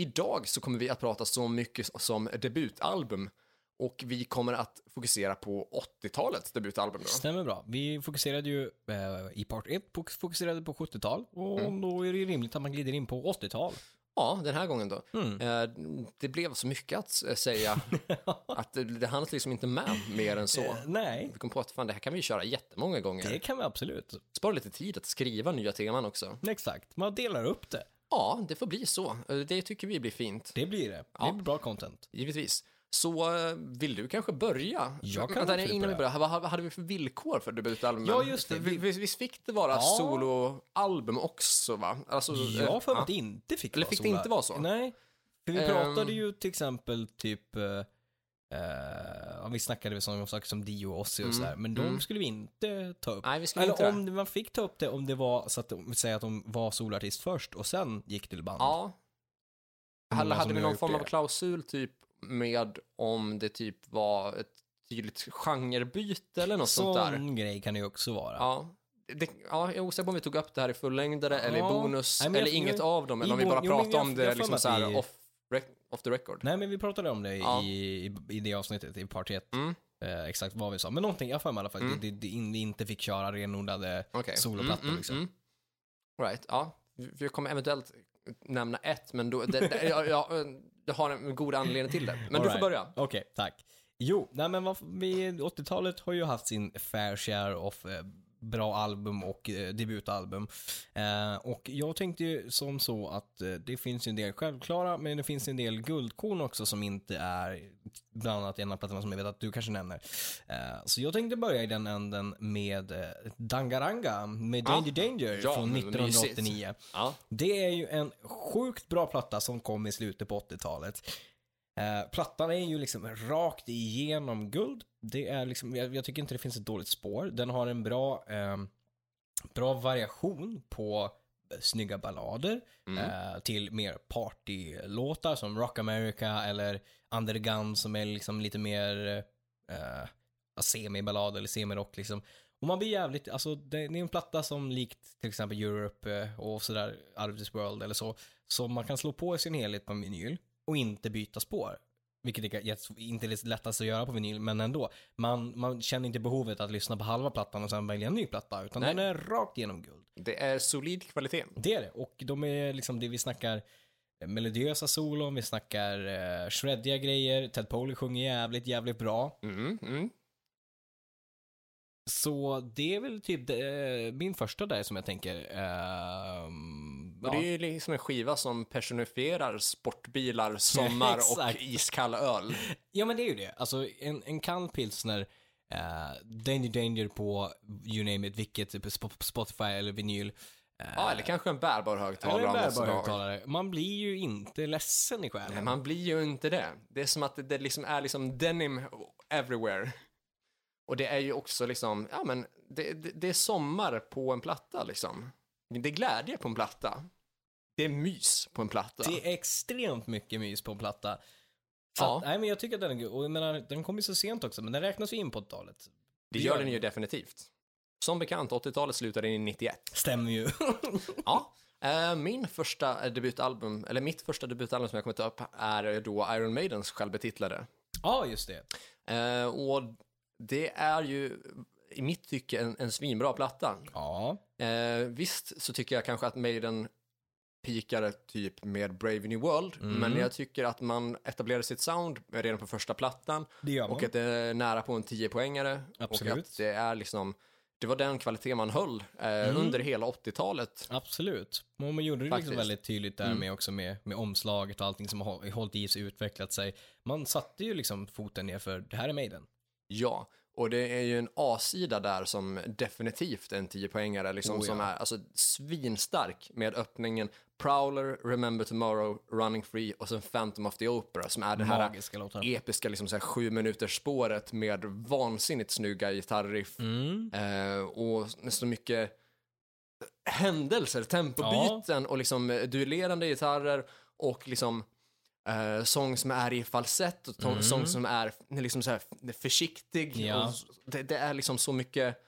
S1: Idag så kommer vi att prata så mycket som debutalbum och vi kommer att fokusera på 80-talets debutalbum. Då.
S2: Stämmer bra. Vi fokuserade ju eh, i part 1 fokuserade på 70-tal och
S1: Mm.
S2: då är det ju rimligt att man glider in på 80-tal.
S1: Ja, den här gången då.
S2: Mm.
S1: Eh, Det blev så mycket att eh,
S2: *laughs*
S1: säga att det- det hann liksom inte med mer än så.
S2: Eh, nej,
S1: Vi kom på att fan, det här kan vi köra jättemånga gånger.
S2: det kan vi absolut.
S1: Spara lite tid att skriva nya teman också.
S2: Exakt, man delar upp det.
S1: Ja, det får bli så. Eh, Det tycker vi blir fint,
S2: Det blir det. Det blir bra content.
S1: givetvis. Så eh, vill du kanske börja?
S2: Jag kan
S1: Vänta,
S2: absolut
S1: innan vi
S2: börja.
S1: börjar, vad vad hade vi för villkor för debutalbumen?
S2: Ja, just det.
S1: Vi, vi, visst fick det vara
S2: Ja.
S1: soloalbum också, va? Alltså,
S2: Jag har för mig
S1: eh,
S2: att det inte fick
S1: Eller
S2: vara
S1: fick
S2: så
S1: det inte
S2: där.
S1: vara så?
S2: Nej, för vi
S1: Ehm.
S2: pratade ju till exempel typ eh, eh, vi snackade väl om saker som Dio och Ozzy och sådär, men de skulle vi inte ta upp.
S1: Mm. Nej, vi skulle
S2: Eller
S1: inte det.
S2: om man fick ta upp det om det var så att de, säga att de var solartist först och sen gick till band.
S1: Ja.
S2: Hur
S1: Eller
S2: många
S1: hade vi
S2: som nu har
S1: någon
S2: gjort
S1: form av
S2: det?
S1: klausul typ med om det typ var ett tydligt genrebyte eller något sånt där?
S2: Sån grej kan det ju också vara.
S1: Ja. Det, ja, jag är osäker på om vi tog upp det här i fullängdare eller i
S2: Ja.
S1: bonus
S2: Nej, men jag-
S1: eller inget
S2: jag-
S1: av dem eller
S2: i
S1: om vi
S2: bon-
S1: bara
S2: jo, men
S1: pratade
S2: jag-
S1: om
S2: jag
S1: det
S2: får
S1: liksom
S2: mig
S1: så här
S2: att vi-
S1: off, rec- off the record.
S2: Nej, men vi pratade om det i,
S1: Ja.
S2: i, i det avsnittet, i part 1.
S1: Mm.
S2: Eh, exakt vad vi sa. Men någonting, jag har för mig i alla fall, det, det, det in- vi inte fick köra renodlade
S1: Okej. Mm,
S2: soloplattor liksom.
S1: All Right, ja. Vi vi kommer eventuellt nämna ett, men då, det, det, jag, jag, jag har en god anledning till det. Men du får
S2: Alright.
S1: börja.
S2: Okej, tack. Jo, nej men vad, vi, 80-talet har ju haft sin fair share of eh, bra album och eh, debutalbum. Eh, och jag tänkte ju som så att eh, det finns ju en del självklara, men det finns en del guldkorn också som inte är bland annat en av plattorna som jag vet att du kanske nämner. Eh, så jag tänkte börja i den änden med eh, Dangaranga med
S1: Ja.
S2: Danger Danger
S1: Ja,
S2: från
S1: men vad
S2: 1989.
S1: Ja.
S2: Det är ju en sjukt bra platta som kom i slutet på 80-talet. Eh, plattan är ju liksom rakt igenom guld. Det är liksom, jag, jag tycker inte det finns ett dåligt spår. Den har en bra, ehm, bra variation på eh, snygga ballader eh, till mer partylåtar som Rock America eller Under the Gun som är liksom lite mer eh, semiballad eller semirock liksom. Och man blir jävligt, alltså det det är en platta som likt till exempel Europe eh, och sådär, Out of this world eller så, som man kan slå på i sin helhet på en vinyl och inte byta spår. Vilket är jätte- inte är det lättaste att göra på vinyl, men ändå. Man, man känner inte behovet att lyssna på halva plattan och sen välja en ny platta, utan
S1: Nej.
S2: den är rakt igenom guld.
S1: Det är solid kvalitet.
S2: Det är det. Och de är liksom det vi snackar eh, melodiösa solon, vi snackar eh, shreddiga Mm, grejer, Ted Poley sjunger jävligt, jävligt bra.
S1: Mm, mm.
S2: Så det är väl typ eh, min första där som jag tänker. ehm,
S1: Och
S2: ja.
S1: det är ju liksom en skiva som personifierar sportbilar,
S2: *laughs*
S1: sommar och
S2: Exakt.
S1: iskall öl.
S2: Ja men det är ju det. Alltså en, en kall pilsner, eh, Danger Danger på you name it, vilket, eh, Sp- Spotify eller vinyl. Eh,
S1: Ja, eller kanske en bärbar
S2: eller
S1: högtalare
S2: en
S1: av något
S2: bärbar
S1: slag.
S2: högtalare. Man blir ju inte ledsen i
S1: Nej,
S2: själen.
S1: man blir ju inte det. Det är som att det- det liksom är liksom denim everywhere. Och det är ju också liksom, ja men, det, det, det är sommar på en platta liksom. Det är glädje på en platta. Det är mys på en platta.
S2: Det är extremt mycket mys på en platta. Så
S1: Ja.
S2: att, nej men jag tycker att den är god. Och jag menar, den kom ju så sent också, men den räknas ju in på 80-talet.
S1: Det gör den ju definitivt. Som bekant, 80-talet slutade i 91.
S2: Stämmer ju. *laughs*
S1: Ja. Eh, Min första eh, debutalbum, eller mitt första debutalbum som jag kommer ta upp är eh, då Iron Maidens självbetitlade.
S2: ja, just det.
S1: Eh, Och det är ju i mitt tycke en, en svinbra platta.
S2: Ja.
S1: Eh, Visst så tycker jag kanske att Maiden pikade typ med Brave New World, men jag tycker att man etablerade sitt sound redan på första plattan
S2: Det gör man.
S1: och att det är nära på en 10-poängare. Och
S2: Absolut.
S1: att det är liksom, det var den kvalitet man höll eh, under hela 80-talet.
S2: Absolut. Men man gjorde det liksom
S1: Faktiskt. Mm.
S2: väldigt tydligt där med också med, med omslaget och allting som har hållit i sig och utvecklat sig. Man satte ju liksom foten ner för det här är Maiden.
S1: Ja, och det är ju en A-sida där som definitivt är en 10-poängare, liksom,
S2: Oh, ja.
S1: som är alltså, svinstark med öppningen Prowler, Remember Tomorrow, Running Free och sen Phantom of the Opera som är det här
S2: Magiska låtar.
S1: episka liksom, så här, sju minuters spåret med vansinnigt snygga gitarriff
S2: Mm.
S1: eh, och så mycket eh, händelser, tempobyten och liksom eh, duellerande gitarrer och liksom eh, sång som är i falsett och to- sång som är liksom så här försiktig.
S2: Mm. Ja.
S1: Och s- det, det är liksom så mycket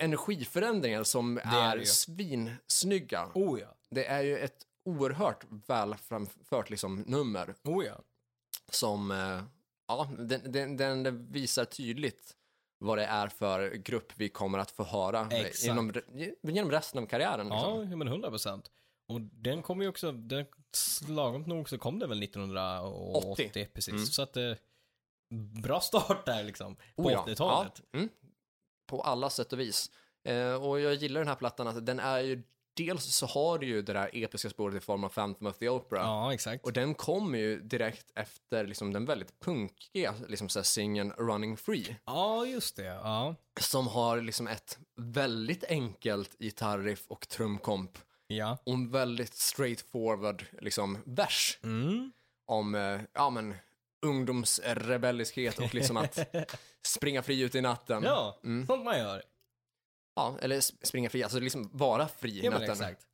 S1: energiförändringar som
S2: är
S1: är,
S2: det ju.
S1: svinsnygga.
S2: Oh ja.
S1: Det är ju ett oerhört väl framfört liksom, nummer
S2: Oh ja.
S1: som eh, ja, den, den, den visar tydligt vad det är för grupp vi kommer att få höra
S2: Exakt.
S1: genom, re- genom resten av karriären.
S2: Ja,
S1: Liksom.
S2: ja, men 100 procent. Och den kom ju också, den, lagom nog så kom den väl 1980.
S1: 80.
S2: Precis.
S1: Mm.
S2: Så att eh, bra start där liksom. På
S1: Oh ja.
S2: 80-talet.
S1: Ja, mm. På alla sätt och vis. Eh, och jag gillar den här plattan att den är ju, dels så har du ju det där episka spåret i form av Phantom of the Opera.
S2: Ja. exakt.
S1: Och den kommer ju direkt efter liksom, den väldigt punkiga liksom, så här singeln Running Free.
S2: Ja, just det. Ja.
S1: Som har liksom ett väldigt enkelt gitarriff och trumkomp.
S2: Ja.
S1: och en väldigt straightforward liksom, vers
S2: Mm.
S1: om eh, ja, men, ungdomsrebelliskhet och liksom
S2: *laughs*
S1: att springa fri ut i natten.
S2: Ja,
S1: Mm.
S2: sånt man gör.
S1: Ja, eller s- springa fri, alltså liksom vara fri i
S2: Ja, men
S1: natten.
S2: exakt.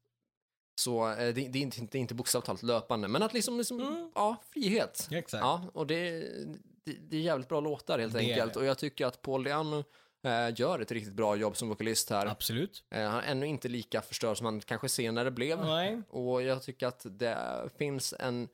S1: Så eh, det, det, är inte, det är inte bokstavligt talat löpande, men att liksom, liksom ja, frihet.
S2: Mm. Ja, exakt.
S1: Ja, och det, det, det är jävligt bra låtar helt
S2: Det är
S1: enkelt.
S2: det.
S1: Och jag tycker att Paul Diano eh, gör ett riktigt bra jobb som vokalist här.
S2: Absolut.
S1: Eh, han är ännu inte lika förstörd som han kanske senare blev.
S2: Nej.
S1: Och jag tycker att det finns en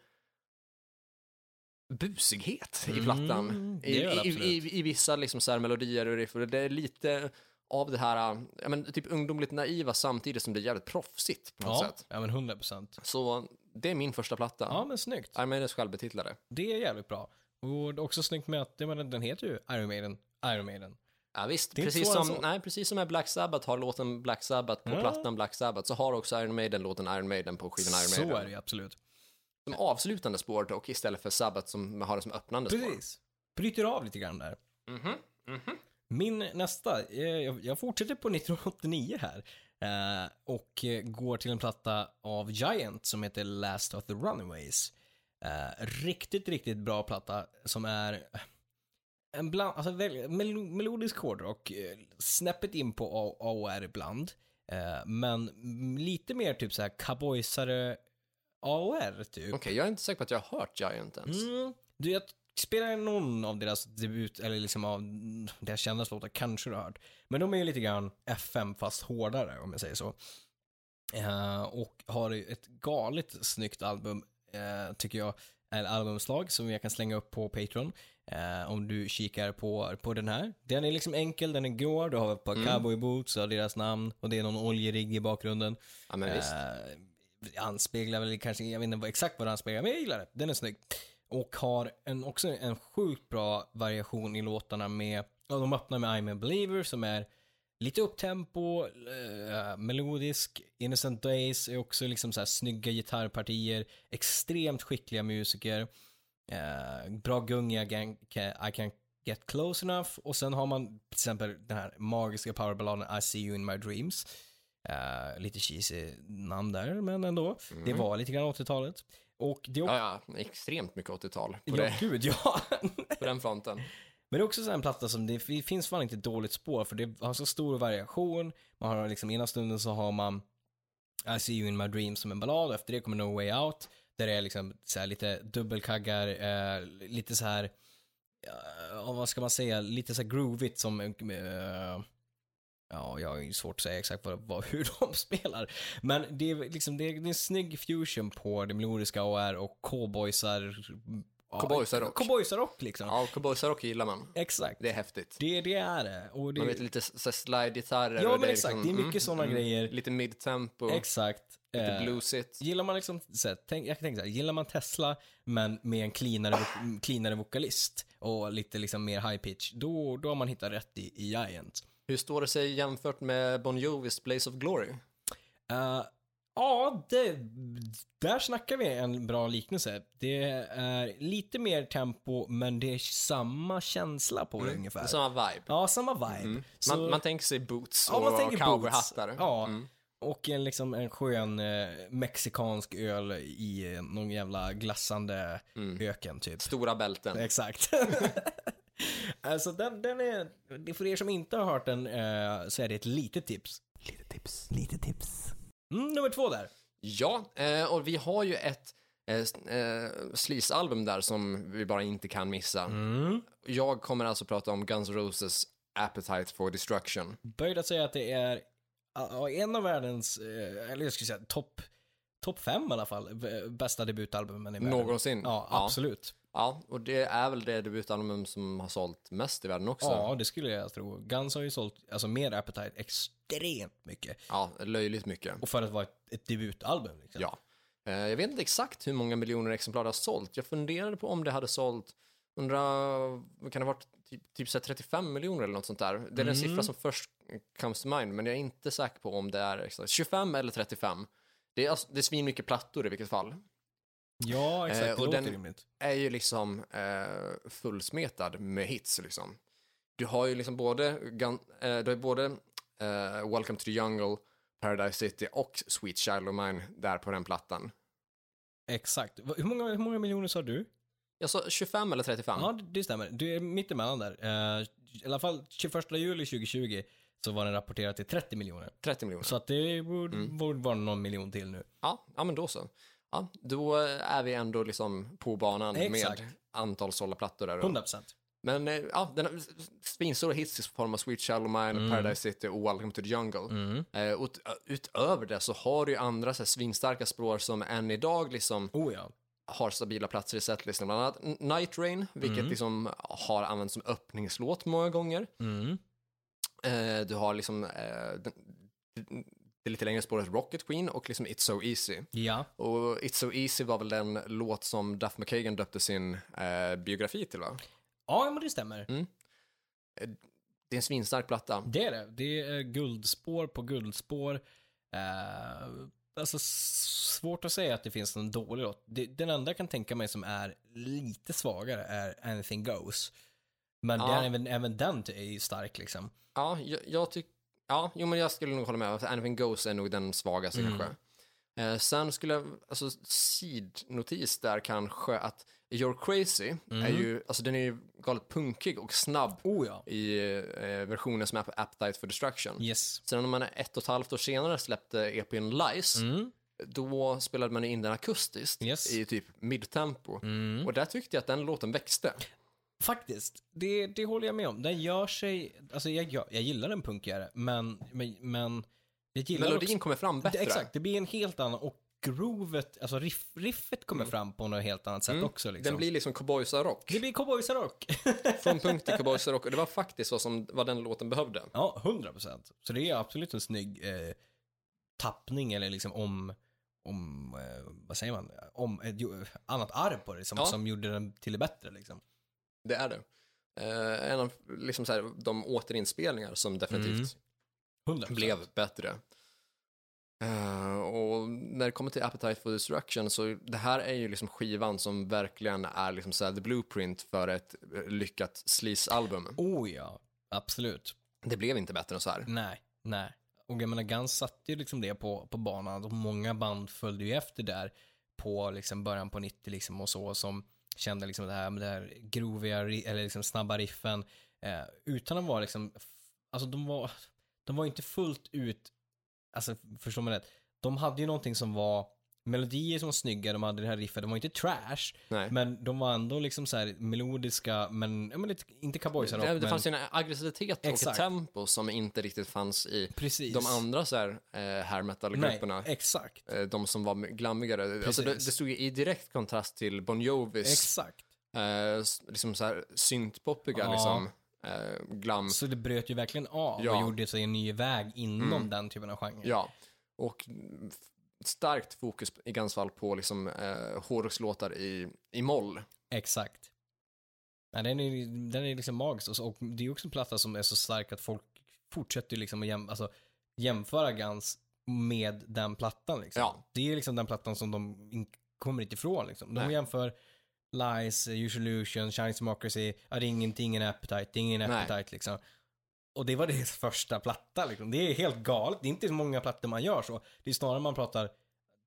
S1: busighet i
S2: Mm,
S1: plattan.
S2: det
S1: I,
S2: gör det
S1: i,
S2: absolut.
S1: i, I vissa liksom så här melodier och riff. Och det är lite av det här, ja, men, typ ungdomligt naiva samtidigt som det är jävligt proffsigt på något
S2: Ja,
S1: sätt.
S2: ja, men 100 procent.
S1: Så det är min första platta.
S2: Ja, men snyggt.
S1: Iron Maidens självbetitlade.
S2: Det är jävligt bra. Och det är också snyggt med att jag menar, den heter ju Iron Maiden, Iron Maiden.
S1: Ja, visst,
S2: Det är inte
S1: precis
S2: svårare
S1: som,
S2: än så.
S1: nej, precis som med Black Sabbath har låten Black Sabbath på
S2: Ja.
S1: plattan Black Sabbath så har också Iron Maiden låten Iron Maiden på skivan Iron
S2: Så
S1: Maiden.
S2: är det ju absolut.
S1: Som avslutande spår och istället för Sabbath som har det som öppnande spår.
S2: Precis. Bryter av lite grann där.
S1: Mhm.
S2: Min nästa, eh, jag, jag fortsätter på 1989 här. eh, Och eh, går till en platta av Giant som heter Last of the Runaways. Eh, Riktigt, riktigt bra platta som är en bland, alltså väl, mel- melodisk hårdrock, eh, snäppet in på A- AOR ibland. eh, Men m- lite mer typ så här cowboysare AOR typ.
S1: Okej, jag är inte säker på att jag har hört Giant ens.
S2: Mm. Du, jag spelar någon av deras debut, eller liksom av deras kändaste låtar, kanske du har hört. Men de är ju lite grann FM fast hårdare, om jag säger så. Eh, och har ju ett galet snyggt album, eh, tycker jag, eller albumslag som jag kan slänga upp på Patreon. Eh, om du kikar på, på den här. Den är liksom enkel, den är grå, du har ett par cowboyboots, du har deras namn och det är någon oljerigg i bakgrunden.
S1: Ja, men visst.
S2: Eh, anspeglar väl kanske, jag vet inte vad- exakt vad den anspeglar, men jag gillar det. Den är snygg. Och har en, också en sjukt bra variation i låtarna med Ja, de öppnar med I'm a believer som är lite upptempo, eh, melodisk. Innocent Days är också liksom så här snygga gitarrpartier, extremt skickliga musiker. Eh, bra gunga, I can- I can get close enough. Och sen har man till exempel den här magiska powerballaden I see you in my dreams. Eh, lite cheesy namn där, men ändå. Det var lite grann 80-talet. Och det är också...
S1: Mm. Ja, ja, extremt mycket 80-tal på,
S2: Ja,
S1: det,
S2: gud ja.
S1: på den
S2: *laughs*
S1: fronten.
S2: Men det är också så här en platta som det f- finns fan inte ett dåligt spår för det har så stor variation. Man har liksom ena stunden så har man I see you in my dreams som en ballad och efter det kommer No way out. Där det är liksom så här lite dubbelkaggar, eh, lite så här, eh, vad ska man säga, lite så här groovigt som, eh, ja, jag har ju svårt att säga exakt vad, vad, hur *laughs* de spelar. Men det är liksom, det är, det är en snygg fusion på det melodiska och är och cowboysar, ja,
S1: Cowboysarrock.
S2: cowboysarrock liksom.
S1: Ja, cowboysarrock gillar man.
S2: Exakt.
S1: Det är häftigt.
S2: Det, det är det. Och det
S1: Man vet lite s- så här slide-gitarrer.
S2: ja,
S1: och
S2: men
S1: är
S2: exakt.
S1: liksom-
S2: det är mycket
S1: mm,
S2: sådana
S1: mm.
S2: grejer.
S1: Lite mid-tempo,
S2: Exakt.
S1: lite
S2: Eh,
S1: bluesigt.
S2: Gillar man liksom, så här, tänk, jag kan tänka så här, gillar man Tesla men med en cleanare, vo- cleanare vokalist och lite liksom mer high pitch, då, då har man hittat rätt i, i Giant.
S1: Hur står det sig jämfört med Bon Jovis Blaze of Glory?
S2: Eh, ja, det, där snackar vi en bra liknelse. Det är lite mer tempo men det är samma känsla på det ungefär.
S1: Samma vibe.
S2: Ja, samma vibe. Så-
S1: Mm. Man, man tänker sig boots
S2: Ja,
S1: och
S2: man tänker
S1: cowboyhattar. Mm.
S2: boots. Ja. Och en, liksom, en skön eh, mexikansk öl i eh, någon jävla glassande
S1: Mm.
S2: öken typ. *laughs*
S1: Stora bälten.
S2: Exakt. *laughs* alltså den, den är, för er som inte har hört den eh, så är det ett litet tips. Lite tips. Lite tips. Mm, nummer två där.
S1: Ja, eh, och vi har ju ett eh, s- eh, Sleaze-album där som vi bara inte kan
S2: Mm.
S1: missa. Jag kommer alltså prata om Guns N' Roses Appetite for Destruction.
S2: Böjd att säga att det är ja, en av världens, eh, eller jag skulle säga topp top fem i alla fall, b- bästa debutalbumen i världen.
S1: Någonsin.
S2: Ja,
S1: Ja.
S2: absolut.
S1: Ja, och det är väl det debutalbum som har sålt mest i världen också.
S2: Ja, det skulle jag tro. Guns har ju sålt, alltså mer Appetite, extremt mycket.
S1: Ja, löjligt mycket.
S2: Och för att vara ett, ett debutalbum. Liksom.
S1: Ja. Eh, Jag vet inte exakt hur många miljoner exemplar det har sålt. Jag funderade på om det hade sålt, undrar, kan det ha varit typ, typ så här 35 miljoner eller något sånt där? Det är den siffra som först comes to mind, men jag är inte säker på om det är exakt 25 eller 35. Det är, alltså- det är svinmycket plattor i vilket fall.
S2: ja exakt.
S1: Eh,
S2: det
S1: och
S2: låter
S1: den-
S2: rimligt.
S1: Är ju liksom eh, fullsmetad med hits liksom. Du har ju liksom både, gun, eh, du har ju både eh, Welcome to the Jungle, Paradise City och Sweet Child of Mine där på den plattan.
S2: Exakt. Va- Hur många, hur många miljoner sa du?
S1: Jag sa 25 eller 35?
S2: Ja, det, det stämmer. Du är mittemellan där. Eh, I alla fall 21 juli 2020 så var den rapporterad till 30 miljoner.
S1: 30 miljoner.
S2: Så att det borde, borde vara någon miljon till nu.
S1: Ja, ja, men då så. Ja, då eh, är vi ändå liksom på banan
S2: Exakt.
S1: med antal sålda plattor där.
S2: 100%.
S1: Men eh, ja, den har svinstora hits i form av Sweet Child of Mine, Paradise City och Welcome to the Jungle. Eh, och ut- utöver det så har du ju andra så här, svinstarka spår som än idag liksom
S2: Oh ja.
S1: har stabila platser i setlistan. Bland annat N- Night Rain, vilket liksom har använts som öppningslåt många gånger.
S2: Mm.
S1: Eh, du har liksom eh, den, det lite längre spåret Rocket Queen och liksom It's So Easy.
S2: Ja.
S1: Och It's So Easy var väl den låt som Duff McKagan döpte sin eh, biografi till va?
S2: Ja, men det stämmer.
S1: Det är en svinstark platta.
S2: Det är det. Det är guldspår på guldspår. Eh, alltså s- svårt att säga att det finns någon dålig låt. Det, den enda jag kan tänka mig som är lite svagare är Anything Goes. Men
S1: Ja.
S2: den, även, även den är ju stark liksom.
S1: Ja, jag, jag tycker... Ja, jo, men jag skulle nog hålla med. Anything Goes är nog den svagaste
S2: Mm.
S1: kanske. Eh, sen skulle jag, alltså sidnotis där kanske att You're Crazy är
S2: Mm.
S1: ju, alltså den är ju galet punkig och snabb
S2: Oh ja.
S1: i eh, versionen som är på Appetite for Destruction.
S2: Yes.
S1: Sen när man ett och ett halvt år senare släppte EPn Lies, då spelade man in den akustiskt
S2: Mm. Yes. Mm.
S1: i typ midtempo. Och där tyckte jag att den låten växte.
S2: Faktiskt, det, det håller jag med om. Den gör sig, alltså jag, jag, jag gillar den punkigare, men, men, men jag gillar också-
S1: Melodin kommer fram bättre.
S2: Det, exakt, det blir en helt annan och groovet, alltså riff, riffet kommer fram på något helt annat sätt också liksom.
S1: Mm. Den blir liksom cowboysarrock.
S2: Det blir cowboysrock.
S1: Från punkt till cowboysarrock. Och det var faktiskt vad, som, vad den låten behövde.
S2: *laughs* Ja, 100 procent. Så det är absolut en snygg eh, tappning eller liksom om, om eh, vad säger man, om ett jo- annat arv på det som,
S1: Ja.
S2: som gjorde den till det bättre liksom.
S1: Det är det. eh, en av liksom så här, de återinspelningar som
S2: Mm,
S1: definitivt
S2: 100%.
S1: blev bättre. Eh, och när det kommer till Appetite for Destruction så det här är ju liksom skivan som verkligen är liksom så här the blueprint för ett eh, lyckat Sleaze-album.
S2: Oh ja, absolut.
S1: Det blev inte bättre än så här.
S2: Nej, nej. Och jag menar, Guns satte ju liksom det på, på banan och många band följde ju efter där på liksom början på 90 liksom och så som kände liksom det här med det här groviga, ri- eller liksom snabba riffen eh, utan att vara liksom, alltså de var, de var ju inte fullt ut, alltså förstår man rätt, de hade ju någonting som var melodier som var snygga, de hade det här riffet, de var ju inte trash,
S1: Nej.
S2: men de var ändå liksom så här melodiska, men, ja, men lite, inte cowboysarrock,
S1: det,
S2: men
S1: det fanns ju en aggressivitet och ett
S2: Exakt.
S1: tempo som inte riktigt fanns i
S2: precis.
S1: de andra så här, eh, hair metal-grupperna.
S2: Nej, exakt.
S1: eh, de som var glammigare. Alltså det, det
S2: Precis.
S1: stod ju i direkt kontrast till Bon Jovis
S2: Exakt.
S1: eh, s- liksom så här syntpoppiga
S2: Ja.
S1: liksom, eh, glam.
S2: Så det bröt ju verkligen av
S1: Ja. Mm.
S2: och gjorde sig en ny väg inom den typen av genre.
S1: Ja, och f- starkt fokus i Guns fall på liksom, eh, hårdrockslåtar i, i moll.
S2: Exakt. Ja, den, är, den är liksom magisk och, så, och det är också en platta som är så stark att folk fortsätter ju liksom att jäm, alltså, jämföra Guns med den plattan. Liksom.
S1: Ja.
S2: Det är liksom den plattan som de in, kommer inte ifrån. Liksom. De
S1: Nej.
S2: jämför Lies, Usual Illusion, Chinese Democracy, ja, det är ingenting, ingen appetite, det är ingen
S1: Nej.
S2: appetite liksom. Och det var deras *laughs* första platta liksom. Det är helt galet. Det är inte så många plattor man gör så. Det är snarare man pratar,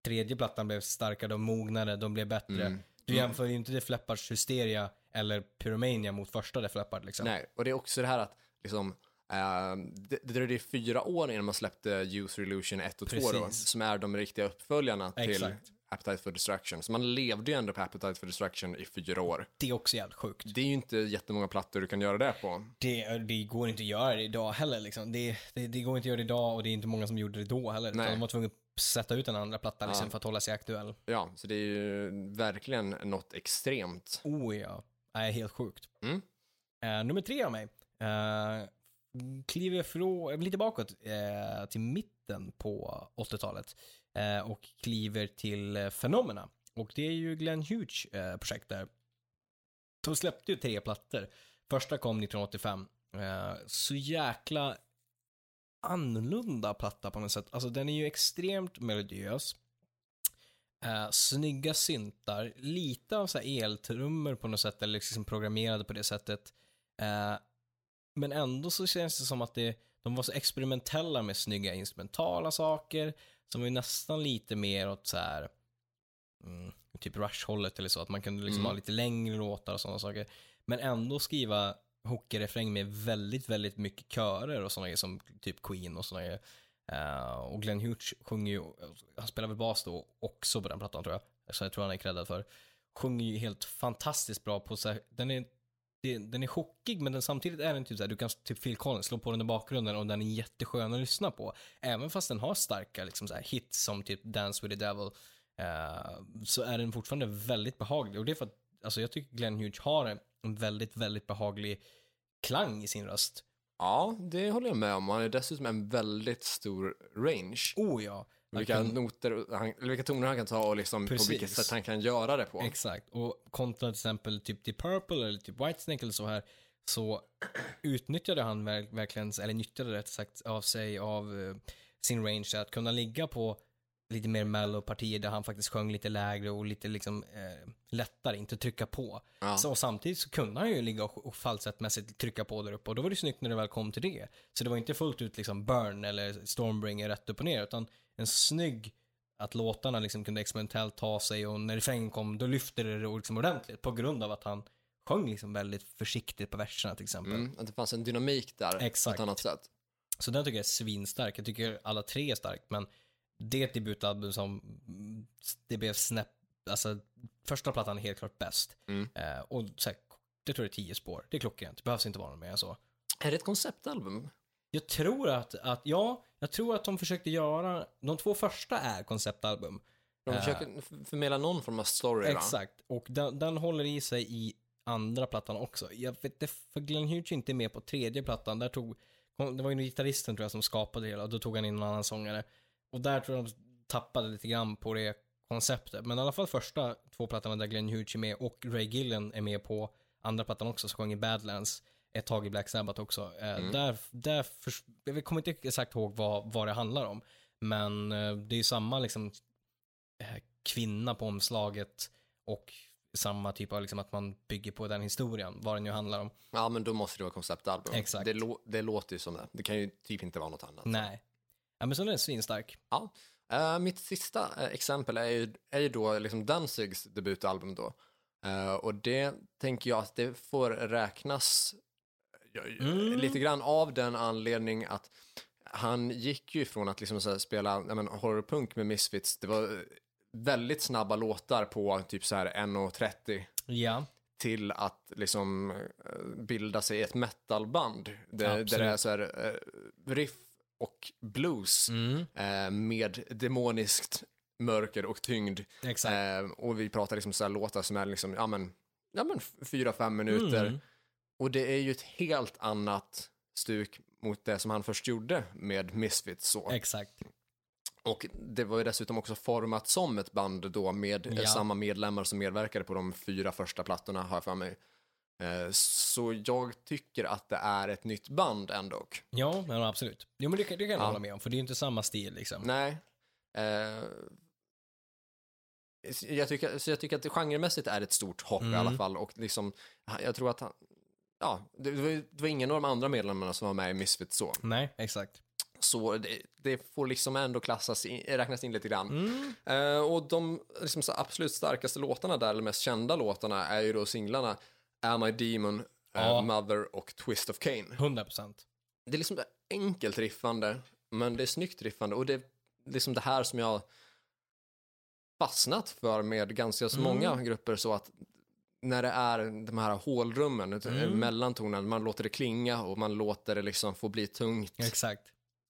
S2: tredje plattan blev starkare, de mognade, de blev bättre.
S1: Mm.
S2: Du jämför ju inte Def Leppards Hysteria eller Pyromania mot första Def Leppard liksom.
S1: Nej, och det är också det här att liksom, eh, det, det dröjde ju fyra år innan man släppte Youth Illusion 1 och 2 då,
S2: Precis.
S1: som är de riktiga uppföljarna till
S2: Exakt.
S1: Appetite for Destruction. Så man levde ju ändå på Appetite for Destruction i fyra år.
S2: Det är också jävligt sjukt.
S1: Det är ju inte jättemånga plattor du kan göra det på.
S2: Det, det går inte att göra det idag heller liksom. det, det, det går inte att göra det idag och det är inte många som gjorde det då heller.
S1: Nej.
S2: Utan de var tvungna att sätta ut en andra platta liksom,
S1: Ja.
S2: för att hålla sig aktuell.
S1: Ja, så det är ju verkligen något extremt.
S2: Oh ja. Nej, helt sjukt.
S1: Mm.
S2: Eh, nummer tre av mig. Uh, kliver från, lite bakåt eh, till mitten på 80-talet eh, och kliver till uh, Fenomena. Och det är ju Glenn Hughes eh, projekt där. De släppte ju tre plattor. Första kom 1985. Eh, så jäkla annorlunda platta på något sätt. Alltså den är ju extremt melodiös. Eh, snygga syntar, lite av så här eltrummor på något sätt, eller liksom programmerade på det sättet. Eh, men ändå så känns det som att det, de var så experimentella med snygga instrumentala saker, som var ju nästan lite mer åt så här, mm, typ Rush-hållet eller så, att man kunde liksom
S1: Mm.
S2: ha lite längre låtar och sådana saker. Men ändå skriva hookerefräng med väldigt, väldigt mycket körer och sådana grejer som typ Queen och sådana grejer. Eh, och Glenn Hughes sjunger ju, han spelar väl bas då också på den plattan tror jag, så jag tror han är creddad för. Sjunger ju helt fantastiskt bra på så här, den är, det- den är chockig men den, samtidigt är den typ så här, du kan typ Phil Collins slå på den i bakgrunden och den är jätteskön att lyssna på. Även fast den har starka liksom så här, hits som typ Dance with the Devil, eh, så är den fortfarande väldigt behaglig. Och det är för att, alltså jag tycker Glenn Hughes har en- en väldigt, väldigt behaglig klang i sin röst.
S1: Ja, det håller jag med om. Han är dessutom en väldigt stor range.
S2: Oh ja.
S1: Vilka, noter han, eller vilka toner han kan ta och liksom på
S2: Precis.
S1: vilket sätt han kan göra det på.
S2: Exakt, och kontra till exempel typ The Purple eller typ Whitesnake eller så här, så utnyttjade han verk- verkligen, eller nyttjade rätt sagt, av sig av eh, sin range att kunna ligga på lite mer mellow partier där han faktiskt sjöng lite lägre och lite liksom eh, lättare, inte trycka på.
S1: Ja.
S2: Så, och samtidigt så kunde han ju ligga och, och falsettmässigt trycka på där uppe och då var det snyggt när det väl kom till det. Så det var inte fullt ut liksom Burn eller Stormbringer rätt upp och ner utan en snygg att låtarna liksom kunde experimentellt ta sig och när refrängen kom då lyfte det det liksom ordentligt på grund av att han sjöng liksom väldigt försiktigt på verserna till exempel.
S1: Mm, att det fanns en dynamik där på ett
S2: Exakt.
S1: annat sätt.
S2: Så den tycker jag är svinstark. Jag tycker alla tre är starkt, men det är ett debutalbum som mm, det blev snäpp, alltså första plattan är helt klart bäst.
S1: Mm.
S2: Eh, och så här, det tror jag är tio spår. Det är klockrent. Det behövs inte vara något mer än så.
S1: Är det ett konceptalbum?
S2: Jag tror att, att, ja, jag tror att de försökte göra, de två första är konceptalbum.
S1: De
S2: Eh.
S1: försöker f- förmedla någon form av story, va?
S2: Exakt, och den, den håller i sig i andra plattan också. Jag vet inte, för Glenn Hughes är inte med på tredje plattan, där tog, det var ju gitarristen tror jag som skapade det hela, och då tog han in en annan sångare. Och där tror jag de tappade lite grann på det konceptet. Men i alla fall första två plattorna där Glenn Hughes är med och Ray Gillen är med på andra plattan också, som sjöng i Badlands, ett tag i Black Sabbath också. Eh,
S1: Mm.
S2: Där, där förs- jag kommer inte exakt ihåg vad, vad det handlar om, men eh, det är ju samma liksom, eh, kvinna på omslaget och samma typ av liksom, att man bygger på den historien, vad den nu handlar om.
S1: Ja, men då måste det vara konceptalbum.
S2: Exakt.
S1: Det, lå- det låter ju som det. Det kan ju typ inte vara något annat.
S2: Nej. Ja, men så den är svinstark.
S1: Ja. Eh, mitt sista eh, exempel är ju, är ju då liksom Danzigs debutalbum då. Eh, och det tänker jag att det får räknas ja, ja,
S2: Mm.
S1: lite grann av den anledning att han gick ju från att liksom så här spela ja, men, horrorpunk med Misfits, det var eh, väldigt snabba låtar på typ så här 1.30
S2: Ja.
S1: till att liksom eh, bilda sig ett metalband. Där,
S2: Absolut.
S1: där det är så här eh, riff och blues
S2: Mm.
S1: eh, med demoniskt mörker och tyngd.
S2: Exakt.
S1: Eh, och vi pratar liksom så här låtar som är liksom, ja men, ja men f- fyra, fem minuter.
S2: Mm.
S1: Och det är ju ett helt annat stuk mot det som han först gjorde med Misfits så.
S2: Exakt.
S1: Och det var ju dessutom också format som ett band då med eh,
S2: Ja.
S1: samma medlemmar som medverkade på de fyra första plattorna har jag för mig. Eh, Så jag tycker att det är ett nytt band ändå.
S2: Ja, men absolut. Jo, men det, kan- det kan jag
S1: Ja.
S2: hålla med om, för det är ju inte samma stil liksom.
S1: Nej. Eh, så jag, tycker, så jag tycker att det genremässigt är ett stort hopp i
S2: Mm.
S1: alla fall. Och liksom, jag tror att han, ja, det, det var, ju- det var ingen av de andra medlemmarna som var med i Misfits så.
S2: Nej, exakt.
S1: Så det, det får liksom ändå klassas in, räknas in lite grann.
S2: Mm.
S1: Eh, och de liksom, så absolut starkaste låtarna där, eller mest kända låtarna, är ju då singlarna Am I Demon, eh,
S2: Ja.
S1: Mother och Twist of Cain.
S2: 100 procent.
S1: Det är liksom det enkelt riffande, men det är snyggt riffande och det är liksom det här som jag fastnat för med ganska så
S2: Mm.
S1: många grupper så att när det är de här hålrummen
S2: Mm.
S1: mellan tonen, man låter det klinga och man låter det liksom få bli tungt.
S2: Exakt.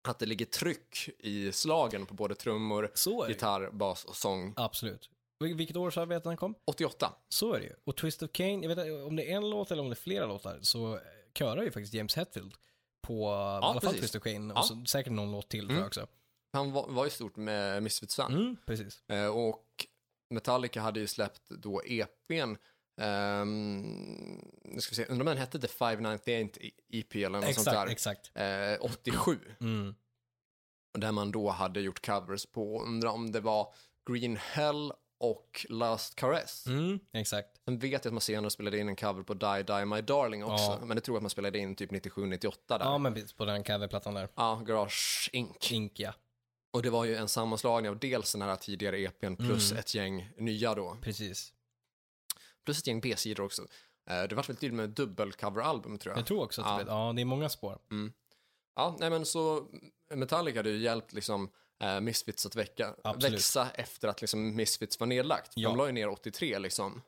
S1: Att det ligger tryck i slagen på både trummor,
S2: Så är det ju.
S1: gitarr, bas och sång.
S2: Absolut. Vil- Vilket år sa jag att den kom?
S1: 88.
S2: Så är det ju. Och Twist of Cain, jag vet inte om det är en låt eller om det är flera låtar, så eh, körar ju faktiskt James Hetfield på i alla fall
S1: precis.
S2: Twist of Cain
S1: Ja.
S2: och så, säkert någon låt till tror jag också.
S1: Han var, var ju stort med Misfits mm.
S2: Mm, precis.
S1: eh, och Metallica hade ju släppt då EPn, ehm, nu ska vi se, undrar om den hette The 598 EP E eller något
S2: Exakt,
S1: sånt
S2: exakt.
S1: där, eh, 87,
S2: Mm.
S1: där man då hade gjort covers på, undrar om det var Green Hell och Last Caress.
S2: Mm, exakt.
S1: Sen vet jag att man senare spelade in en cover på Die Die My Darling också,
S2: Ja.
S1: men det tror jag att man spelade in typ 97-98 där.
S2: Ja,
S1: Ja,
S2: men precis, på den coverplattan där.
S1: Garage Inc.
S2: Inkia.
S1: Och det var ju en sammanslagning av dels den här tidigare EPn plus
S2: Mm.
S1: ett gäng nya då.
S2: Precis.
S1: plus ett gäng B-sidor också. Eh, Det var väl till och med dubbelcoveralbum tror jag.
S2: Jag tror också att
S1: Ja.
S2: det blir- ja, Mm. det är många spår.
S1: Ja, nej men så Metallica hade ju hjälpt liksom eh, Misfits att väcka,
S2: Absolut.
S1: växa efter att liksom Misfits var nedlagt.
S2: Ja.
S1: De la ju ner 83 liksom.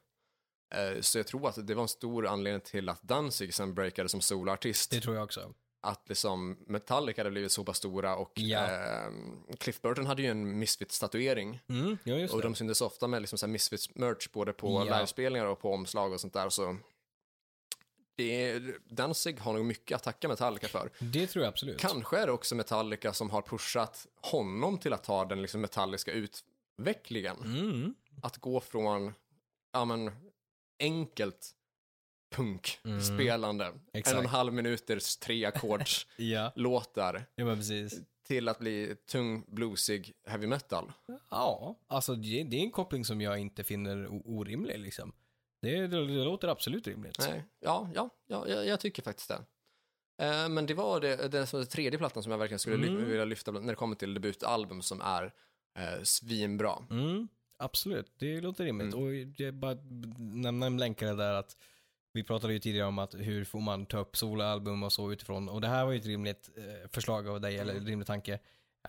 S1: Eh, Så jag tror att det var en stor anledning till att Danzig sen breakade som soloartist.
S2: Det tror jag också.
S1: Att liksom Metallica hade blivit så pass stora och
S2: Ja.
S1: eh, Cliff Burton hade ju en Misfits-statuering.
S2: Mm, ja, just
S1: Och
S2: det.
S1: de syntes ofta med liksom så här Misfits-merch både på
S2: Ja.
S1: livespelningar och på omslag och sånt där. Så det är, Danzig har nog mycket att tacka Metallica för.
S2: Det tror jag absolut.
S1: Kanske är det också Metallica som har pushat honom till att ta den liksom metalliska utvecklingen.
S2: Mm.
S1: Att gå från ja, men, enkelt
S2: Mm.
S1: punkspelande, en och en
S2: Exakt.
S1: halv minuters
S2: *laughs*
S1: treackordslåtar
S2: Ja, ja men precis.
S1: till att bli tung, bluesig heavy metal.
S2: Ja, alltså det, det är en koppling som jag inte finner o- orimlig liksom. Det, det, det låter absolut rimligt.
S1: Nej, ja, ja, ja jag, jag tycker faktiskt det. Eh, men det var det, den, som, den tredje plattan som jag verkligen skulle ly-
S2: Mm.
S1: vilja lyfta bland- när det kommer till debutalbum som är eh, svinbra.
S2: Mm, absolut, det låter rimligt.
S1: Mm.
S2: Och jag bara nämna en länkare där att vi pratade ju tidigare om att hur får man ta upp soloalbum och så utifrån. Och det här var ju ett rimligt eh, förslag av dig, eller
S1: Mm.
S2: rimlig tanke.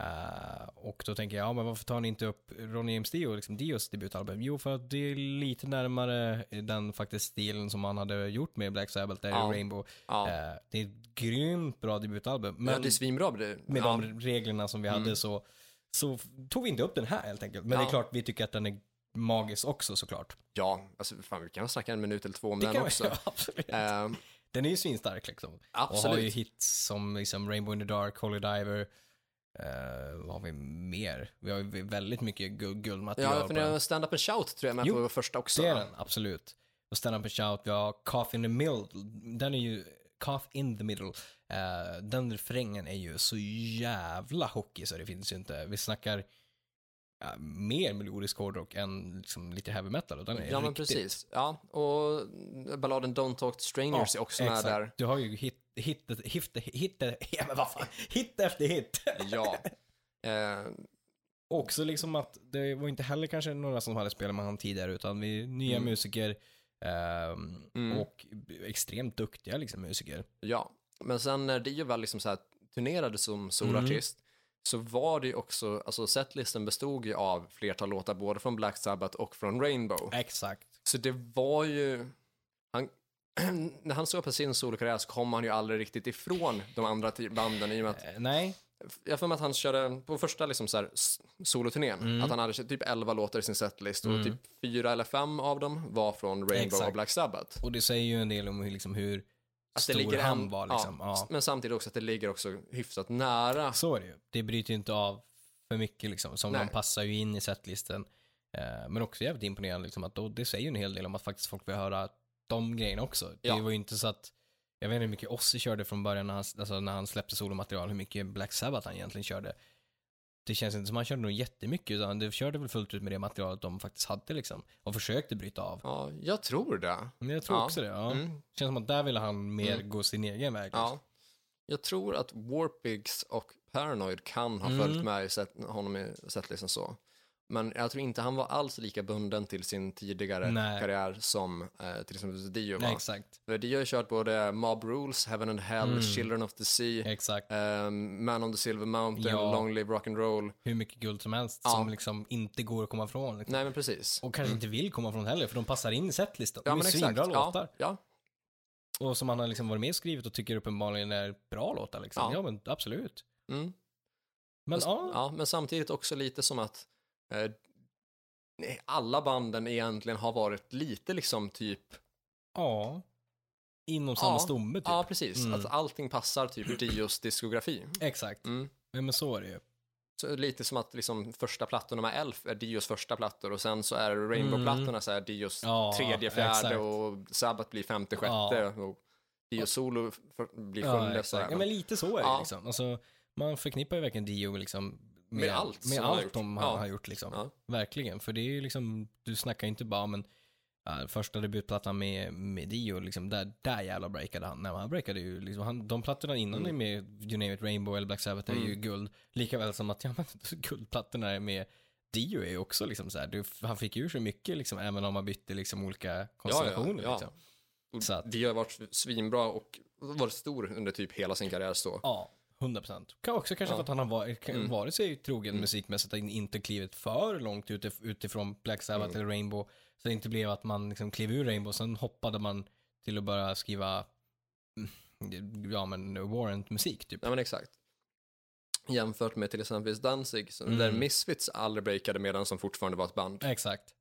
S2: Eh, och då tänker jag, ja men varför tar ni inte upp Ronny James Dio, liksom Dios debutalbum? Jo, för att det är lite närmare den faktiskt stilen som han hade gjort med Black Sabbath, där
S1: Ja.
S2: i Rainbow.
S1: Ja.
S2: Eh, det är ett grymt bra debutalbum. Men
S1: ja, det är svinbra. Det,
S2: med
S1: ja, Mm.
S2: de reglerna som vi hade så, så f- tog vi inte upp den här helt enkelt. Men det
S1: Ja.
S2: är klart, vi tycker att den är magisk också såklart.
S1: ja, alltså fan vi kan snacka en minut eller två om
S2: Det
S1: den
S2: kan vi-
S1: också.
S2: ja, *laughs* absolut.
S1: Eh,
S2: Den är ju svinstark liksom. Och har ju
S1: absolut.
S2: hits som liksom Rainbow in the Dark, Holy Diver, eh, vad har vi mer? Vi har ju väldigt mycket gu-
S1: Ja,
S2: guldmaterial
S1: för
S2: på
S1: det
S2: den.
S1: är stand up and shout tror jag med
S2: Jo,
S1: på första också.
S2: Det är den, absolut. och Stand Up and Shout, vi har Cough in the Middle, den är ju, Cough in the Middle, eh, den refrängen är ju så jävla hockey så det finns ju inte. Vi snackar ja, mer melodisk hårdrock än liksom lite heavy metal. och Den är
S1: Ja, men
S2: riktigt-
S1: precis. Ja, och balladen Don't Talk to Strangers är också med
S2: exakt.
S1: där.
S2: Du har ju hit, hit, hit, hit, ja, men vad fan, hit efter hit. *laughs*
S1: Ja. Eh,
S2: Också liksom att det var inte heller kanske några som hade spelat med han tidigare, utan vi är nya
S1: Mm.
S2: musiker ehm,
S1: Mm.
S2: och extremt duktiga liksom, musiker.
S1: ja. Men sen när Dio väl liksom så här turnerade som solartist så var det ju också, alltså setlisten bestod ju av flertal låtar både från Black Sabbath och från Rainbow.
S2: Exakt.
S1: Så det var ju, han, *clears throat* när han såg på sin solokarriär så kom han ju aldrig riktigt ifrån de andra ti- banden i och med att,
S2: Eh, nej,
S1: jag har för mig att han körde, på första liksom så här s- soloturnén, att han hade typ 11 låtar i sin setlist och typ fyra eller fem av dem var från Rainbow
S2: Exakt.
S1: och Black Sabbath.
S2: och det säger ju en del om hur, liksom, hur
S1: Att det
S2: stor
S1: ligger
S2: han
S1: en-
S2: var.
S1: ja,
S2: Liksom. Ja,
S1: s- Men samtidigt också att det ligger också hyfsat nära.
S2: Så är det ju. Det bryter ju inte av för mycket liksom, som
S1: Nej.
S2: de passar ju in i setlisten. Eh, men också jävligt imponerande liksom, att då, det säger ju en hel del om att faktiskt folk vill höra de grejerna också.
S1: Ja.
S2: Det var ju inte så att, jag vet inte hur mycket Ozzy körde från början när han, alltså, när han släppte solomaterial, hur mycket Black Sabbath han egentligen körde. Det känns inte som han körde nog jättemycket, utan det körde väl fullt ut med det materialet de faktiskt hade liksom. Och försökte bryta av.
S1: Ja, jag tror det.
S2: Men jag tror
S1: Ja.
S2: också det, ja.
S1: Mm.
S2: Känns som att där ville han mer gå sin egen väg. liksom.
S1: Ja. Jag tror att Warpigs och Paranoid kan ha
S2: Mm.
S1: följt med i set, honom i setlisten så. Men jag tror inte han var alls lika bunden till sin tidigare
S2: Nej.
S1: karriär som eh, till exempel Dio
S2: Nej,
S1: var.
S2: exakt.
S1: För Dio har ju kört både Mob Rules, Heaven and Hell, Children of the Sea,
S2: Exakt.
S1: eh, Man on the Silver Mountain,
S2: Ja.
S1: Long Live Rock and Roll.
S2: hur mycket guld som helst
S1: Ja.
S2: som liksom inte går att komma ifrån. Liksom.
S1: Nej men precis.
S2: Och kanske inte vill komma ifrån heller, för de passar in i setlistan.
S1: Ja
S2: de är
S1: men exakt.
S2: svinbra
S1: Ja,
S2: låtar.
S1: ja.
S2: Och som han har liksom varit med och skrivit och tycker uppenbarligen är bra låtar. Liksom.
S1: Ja.
S2: Ja. men absolut.
S1: Mm.
S2: Men
S1: Men,
S2: ja,
S1: ja, men samtidigt också lite som att eh, nej, alla banden egentligen har varit lite liksom typ,
S2: ja. Inom samma
S1: Ja.
S2: stomme typ.
S1: ja precis,
S2: Mm.
S1: att allting passar typ Dios diskografi.
S2: Exakt.
S1: Mm.
S2: Ja, men så är det ju.
S1: Så lite som att liksom första plattorna med Elf är Dios första plattor och sen så är Rainbow-plattorna så här Dios
S2: Mm. Ja,
S1: tredje, fjärde
S2: exakt.
S1: och Sabbath blir femte,
S2: Ja.
S1: sjätte och Dios solo f- f- blir
S2: Ja,
S1: sjunde. så
S2: exakt.
S1: här.
S2: Ja, men lite så är det
S1: Ja.
S2: liksom. Alltså, man förknippar ju verkligen Dio liksom med,
S1: Med allt
S2: med
S1: som han har
S2: allt
S1: gjort.
S2: de har,
S1: Ja.
S2: har gjort. Liksom.
S1: Ja.
S2: Verkligen, för det är ju liksom, du snackar ju inte bara om en ja, första debutplattan med, med Dio, liksom, där, där jävla breakade han. Nej, men han breakade ju, liksom, han, de plattorna innan
S1: Mm.
S2: med You Name It Rainbow eller Black Sabbath är ju guld, likaväl som att ja, men, *laughs* guldplattorna med Dio är ju också liksom så här, du, han fick ju ur sig mycket liksom, även om han bytte liksom olika konstellationer.
S1: ja.
S2: Liksom.
S1: Och
S2: Så att-
S1: Dio har varit svinbra och varit stor under typ hela sin karriär så.
S2: Ja, 100 procent. Kan också kanske
S1: Ja. Mm.
S2: för att han har varit, kan- varit sig trogen musikmässigt, att inte klivit för långt utif- utifrån Black
S1: Mm.
S2: Sabbath eller Rainbow. Så det inte blev att man liksom klev ur Rainbow, sen hoppade man till att börja skriva mm, ja men Warrant-musik typ.
S1: Ja men exakt. Jämfört med till exempel Danzig, som-
S2: Mm.
S1: där Misfits aldrig breakade medan som fortfarande var ett band.
S2: Exakt.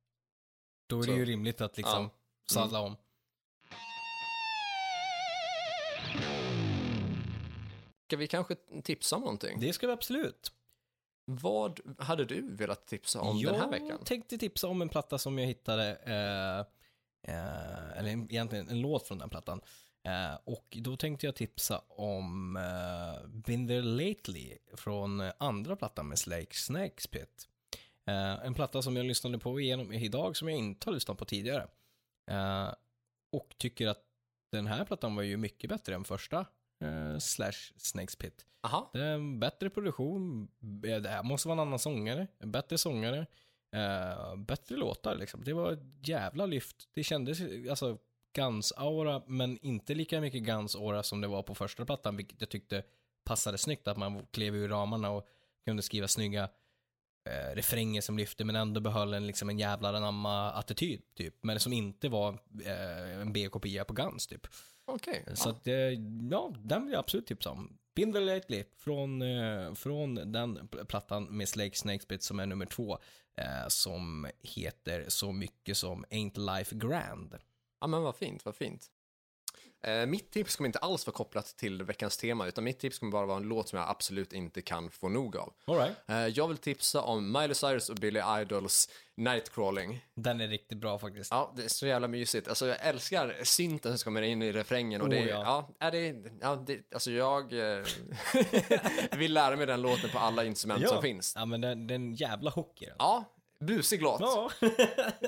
S2: Då är
S1: Så.
S2: det ju rimligt att liksom
S1: Ja. Mm.
S2: sadla om.
S1: Ska vi kanske tipsa om någonting?
S2: Det ska vi absolut.
S1: Vad hade du velat tipsa om
S2: jag
S1: den här veckan?
S2: tänkte tipsa om en platta som jag hittade, eh, eh, eller egentligen en låt från den plattan. Eh, och då tänkte jag tipsa om eh, Been There Lately från eh, andra plattan med Slake Snakes Pit. Eh, en platta som jag lyssnade på igenom idag som jag inte har lyssnat på tidigare. Eh, och tycker att den här plattan var ju mycket bättre än första eh, Slash Snakes Pit.
S1: Aha,
S2: Det är en bättre produktion, Eh, det här måste vara en annan sångare, en bättre sångare, eh, bättre låtar liksom. Det var ett jävla lyft. Det kändes alltså Guns-aura, men inte lika mycket Guns-aura som det var på första plattan, vilket jag tyckte passade snyggt, att man klev ur ramarna och kunde skriva snygga eh, refränger som lyfte, men ändå behöll en, liksom, en jävla anamma-attityd, typ. Men som inte var eh, en B-kopia på Guns, typ.
S1: okej.
S2: Så
S1: Ja.
S2: att, eh, ja, den vill jag absolut tipsa om. Bindle Lately från, eh, från den pl- plattan med Slake Snakespit som är nummer två, eh, som heter så mycket som Ain't Life Grand.
S1: ja, men vad fint, vad fint. Eh, mitt tips kommer inte alls vara kopplat till veckans tema, utan mitt tips kommer bara vara en låt som jag absolut inte kan få nog av.
S2: All right.
S1: Eh, jag vill tipsa om Miley Cyrus och Billy Idols Nightcrawling.
S2: Den är riktigt bra faktiskt.
S1: Ja, det är så jävla mysigt. Alltså jag älskar synten som kommer in i refrängen och det,
S2: Oh, ja.
S1: ja. är det, ja, det, alltså jag eh, *laughs* vill lära mig den låten på alla instrument som finns.
S2: Ja, men den, den jävla hook i den.
S1: Ja, busig låt.
S2: Ja.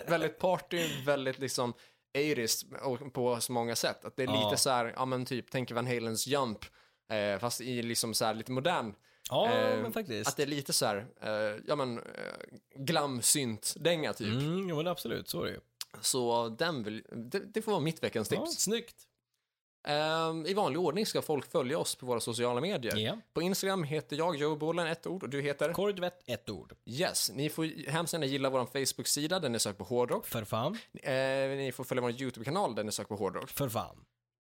S1: väldigt party, väldigt liksom 80s och på så många sätt. Att det är
S2: Ja.
S1: lite så här, ja men typ, tänk Van Halens Jump, eh, fast i liksom så här lite modern.
S2: Ja,
S1: Eh,
S2: men faktiskt.
S1: Att det är lite så här, eh, ja men, eh, glam synt dänga typ.
S2: Mm, jo, men absolut, så är det ju.
S1: Så den vill, det, det får vara mitt veckans
S2: Ja,
S1: tips.
S2: snyggt.
S1: Ehm, I vanlig ordning ska folk följa oss på våra sociala medier.
S2: Ja.
S1: På Instagram heter jag Joe Bollen, ett ord, och du heter?
S2: Korvett, ett ord.
S1: Yes. Ni får hemskt gärna gilla vår Facebook-sida, den är sök på hårdrock.
S2: För fan,
S1: Eh, ni får följa vår YouTube-kanal, den är sök på hårdrock.
S2: för fan.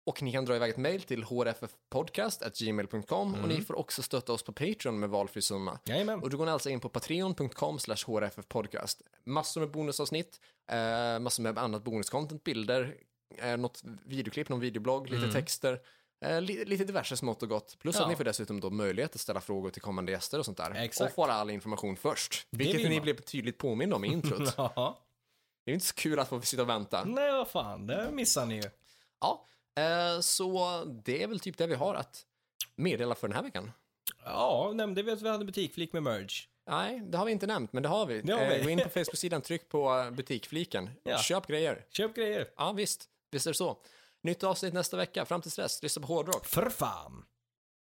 S1: Och ni kan dra iväg ett mejl till hrffpodcast.gmail.com och ni får också stötta oss på Patreon med valfri summa.
S2: Jajamän.
S1: Och då går ni alltså in på patreon.com slash hrffpodcast. Massor med bonusavsnitt, eh, massor med annat bonuscontent, bilder, eh, något videoklipp, någon videoblogg, lite texter, eh, li- lite diverse smått och gott. Plus
S2: Mm. Ja.
S1: att ni får dessutom då möjlighet att ställa frågor till kommande gäster och sånt där.
S2: Exakt.
S1: Och få all information först,
S2: vill
S1: vilket ni
S2: man.
S1: blev tydligt påminna om i
S2: *laughs*
S1: introt.
S2: *laughs* Ja.
S1: det är ju inte så kul att få sitta och vänta.
S2: Nej, vad fan, det missar ni ju.
S1: Ja, eh, så det är väl typ det vi har att meddela för den här veckan.
S2: Ja, nämnde vi att vi hade butikflik med merge.
S1: Nej, det har vi inte nämnt, men det har vi.
S2: Det har vi.
S1: Eh, gå in på Facebook-sidan, tryck på eh, butikfliken.
S2: Ja.
S1: Köp grejer.
S2: Köp grejer.
S1: Ja, visst. Visst är det så. Nytt avsnitt nästa vecka. Fram tills dess, lyssna på hårdrock.
S2: För fan.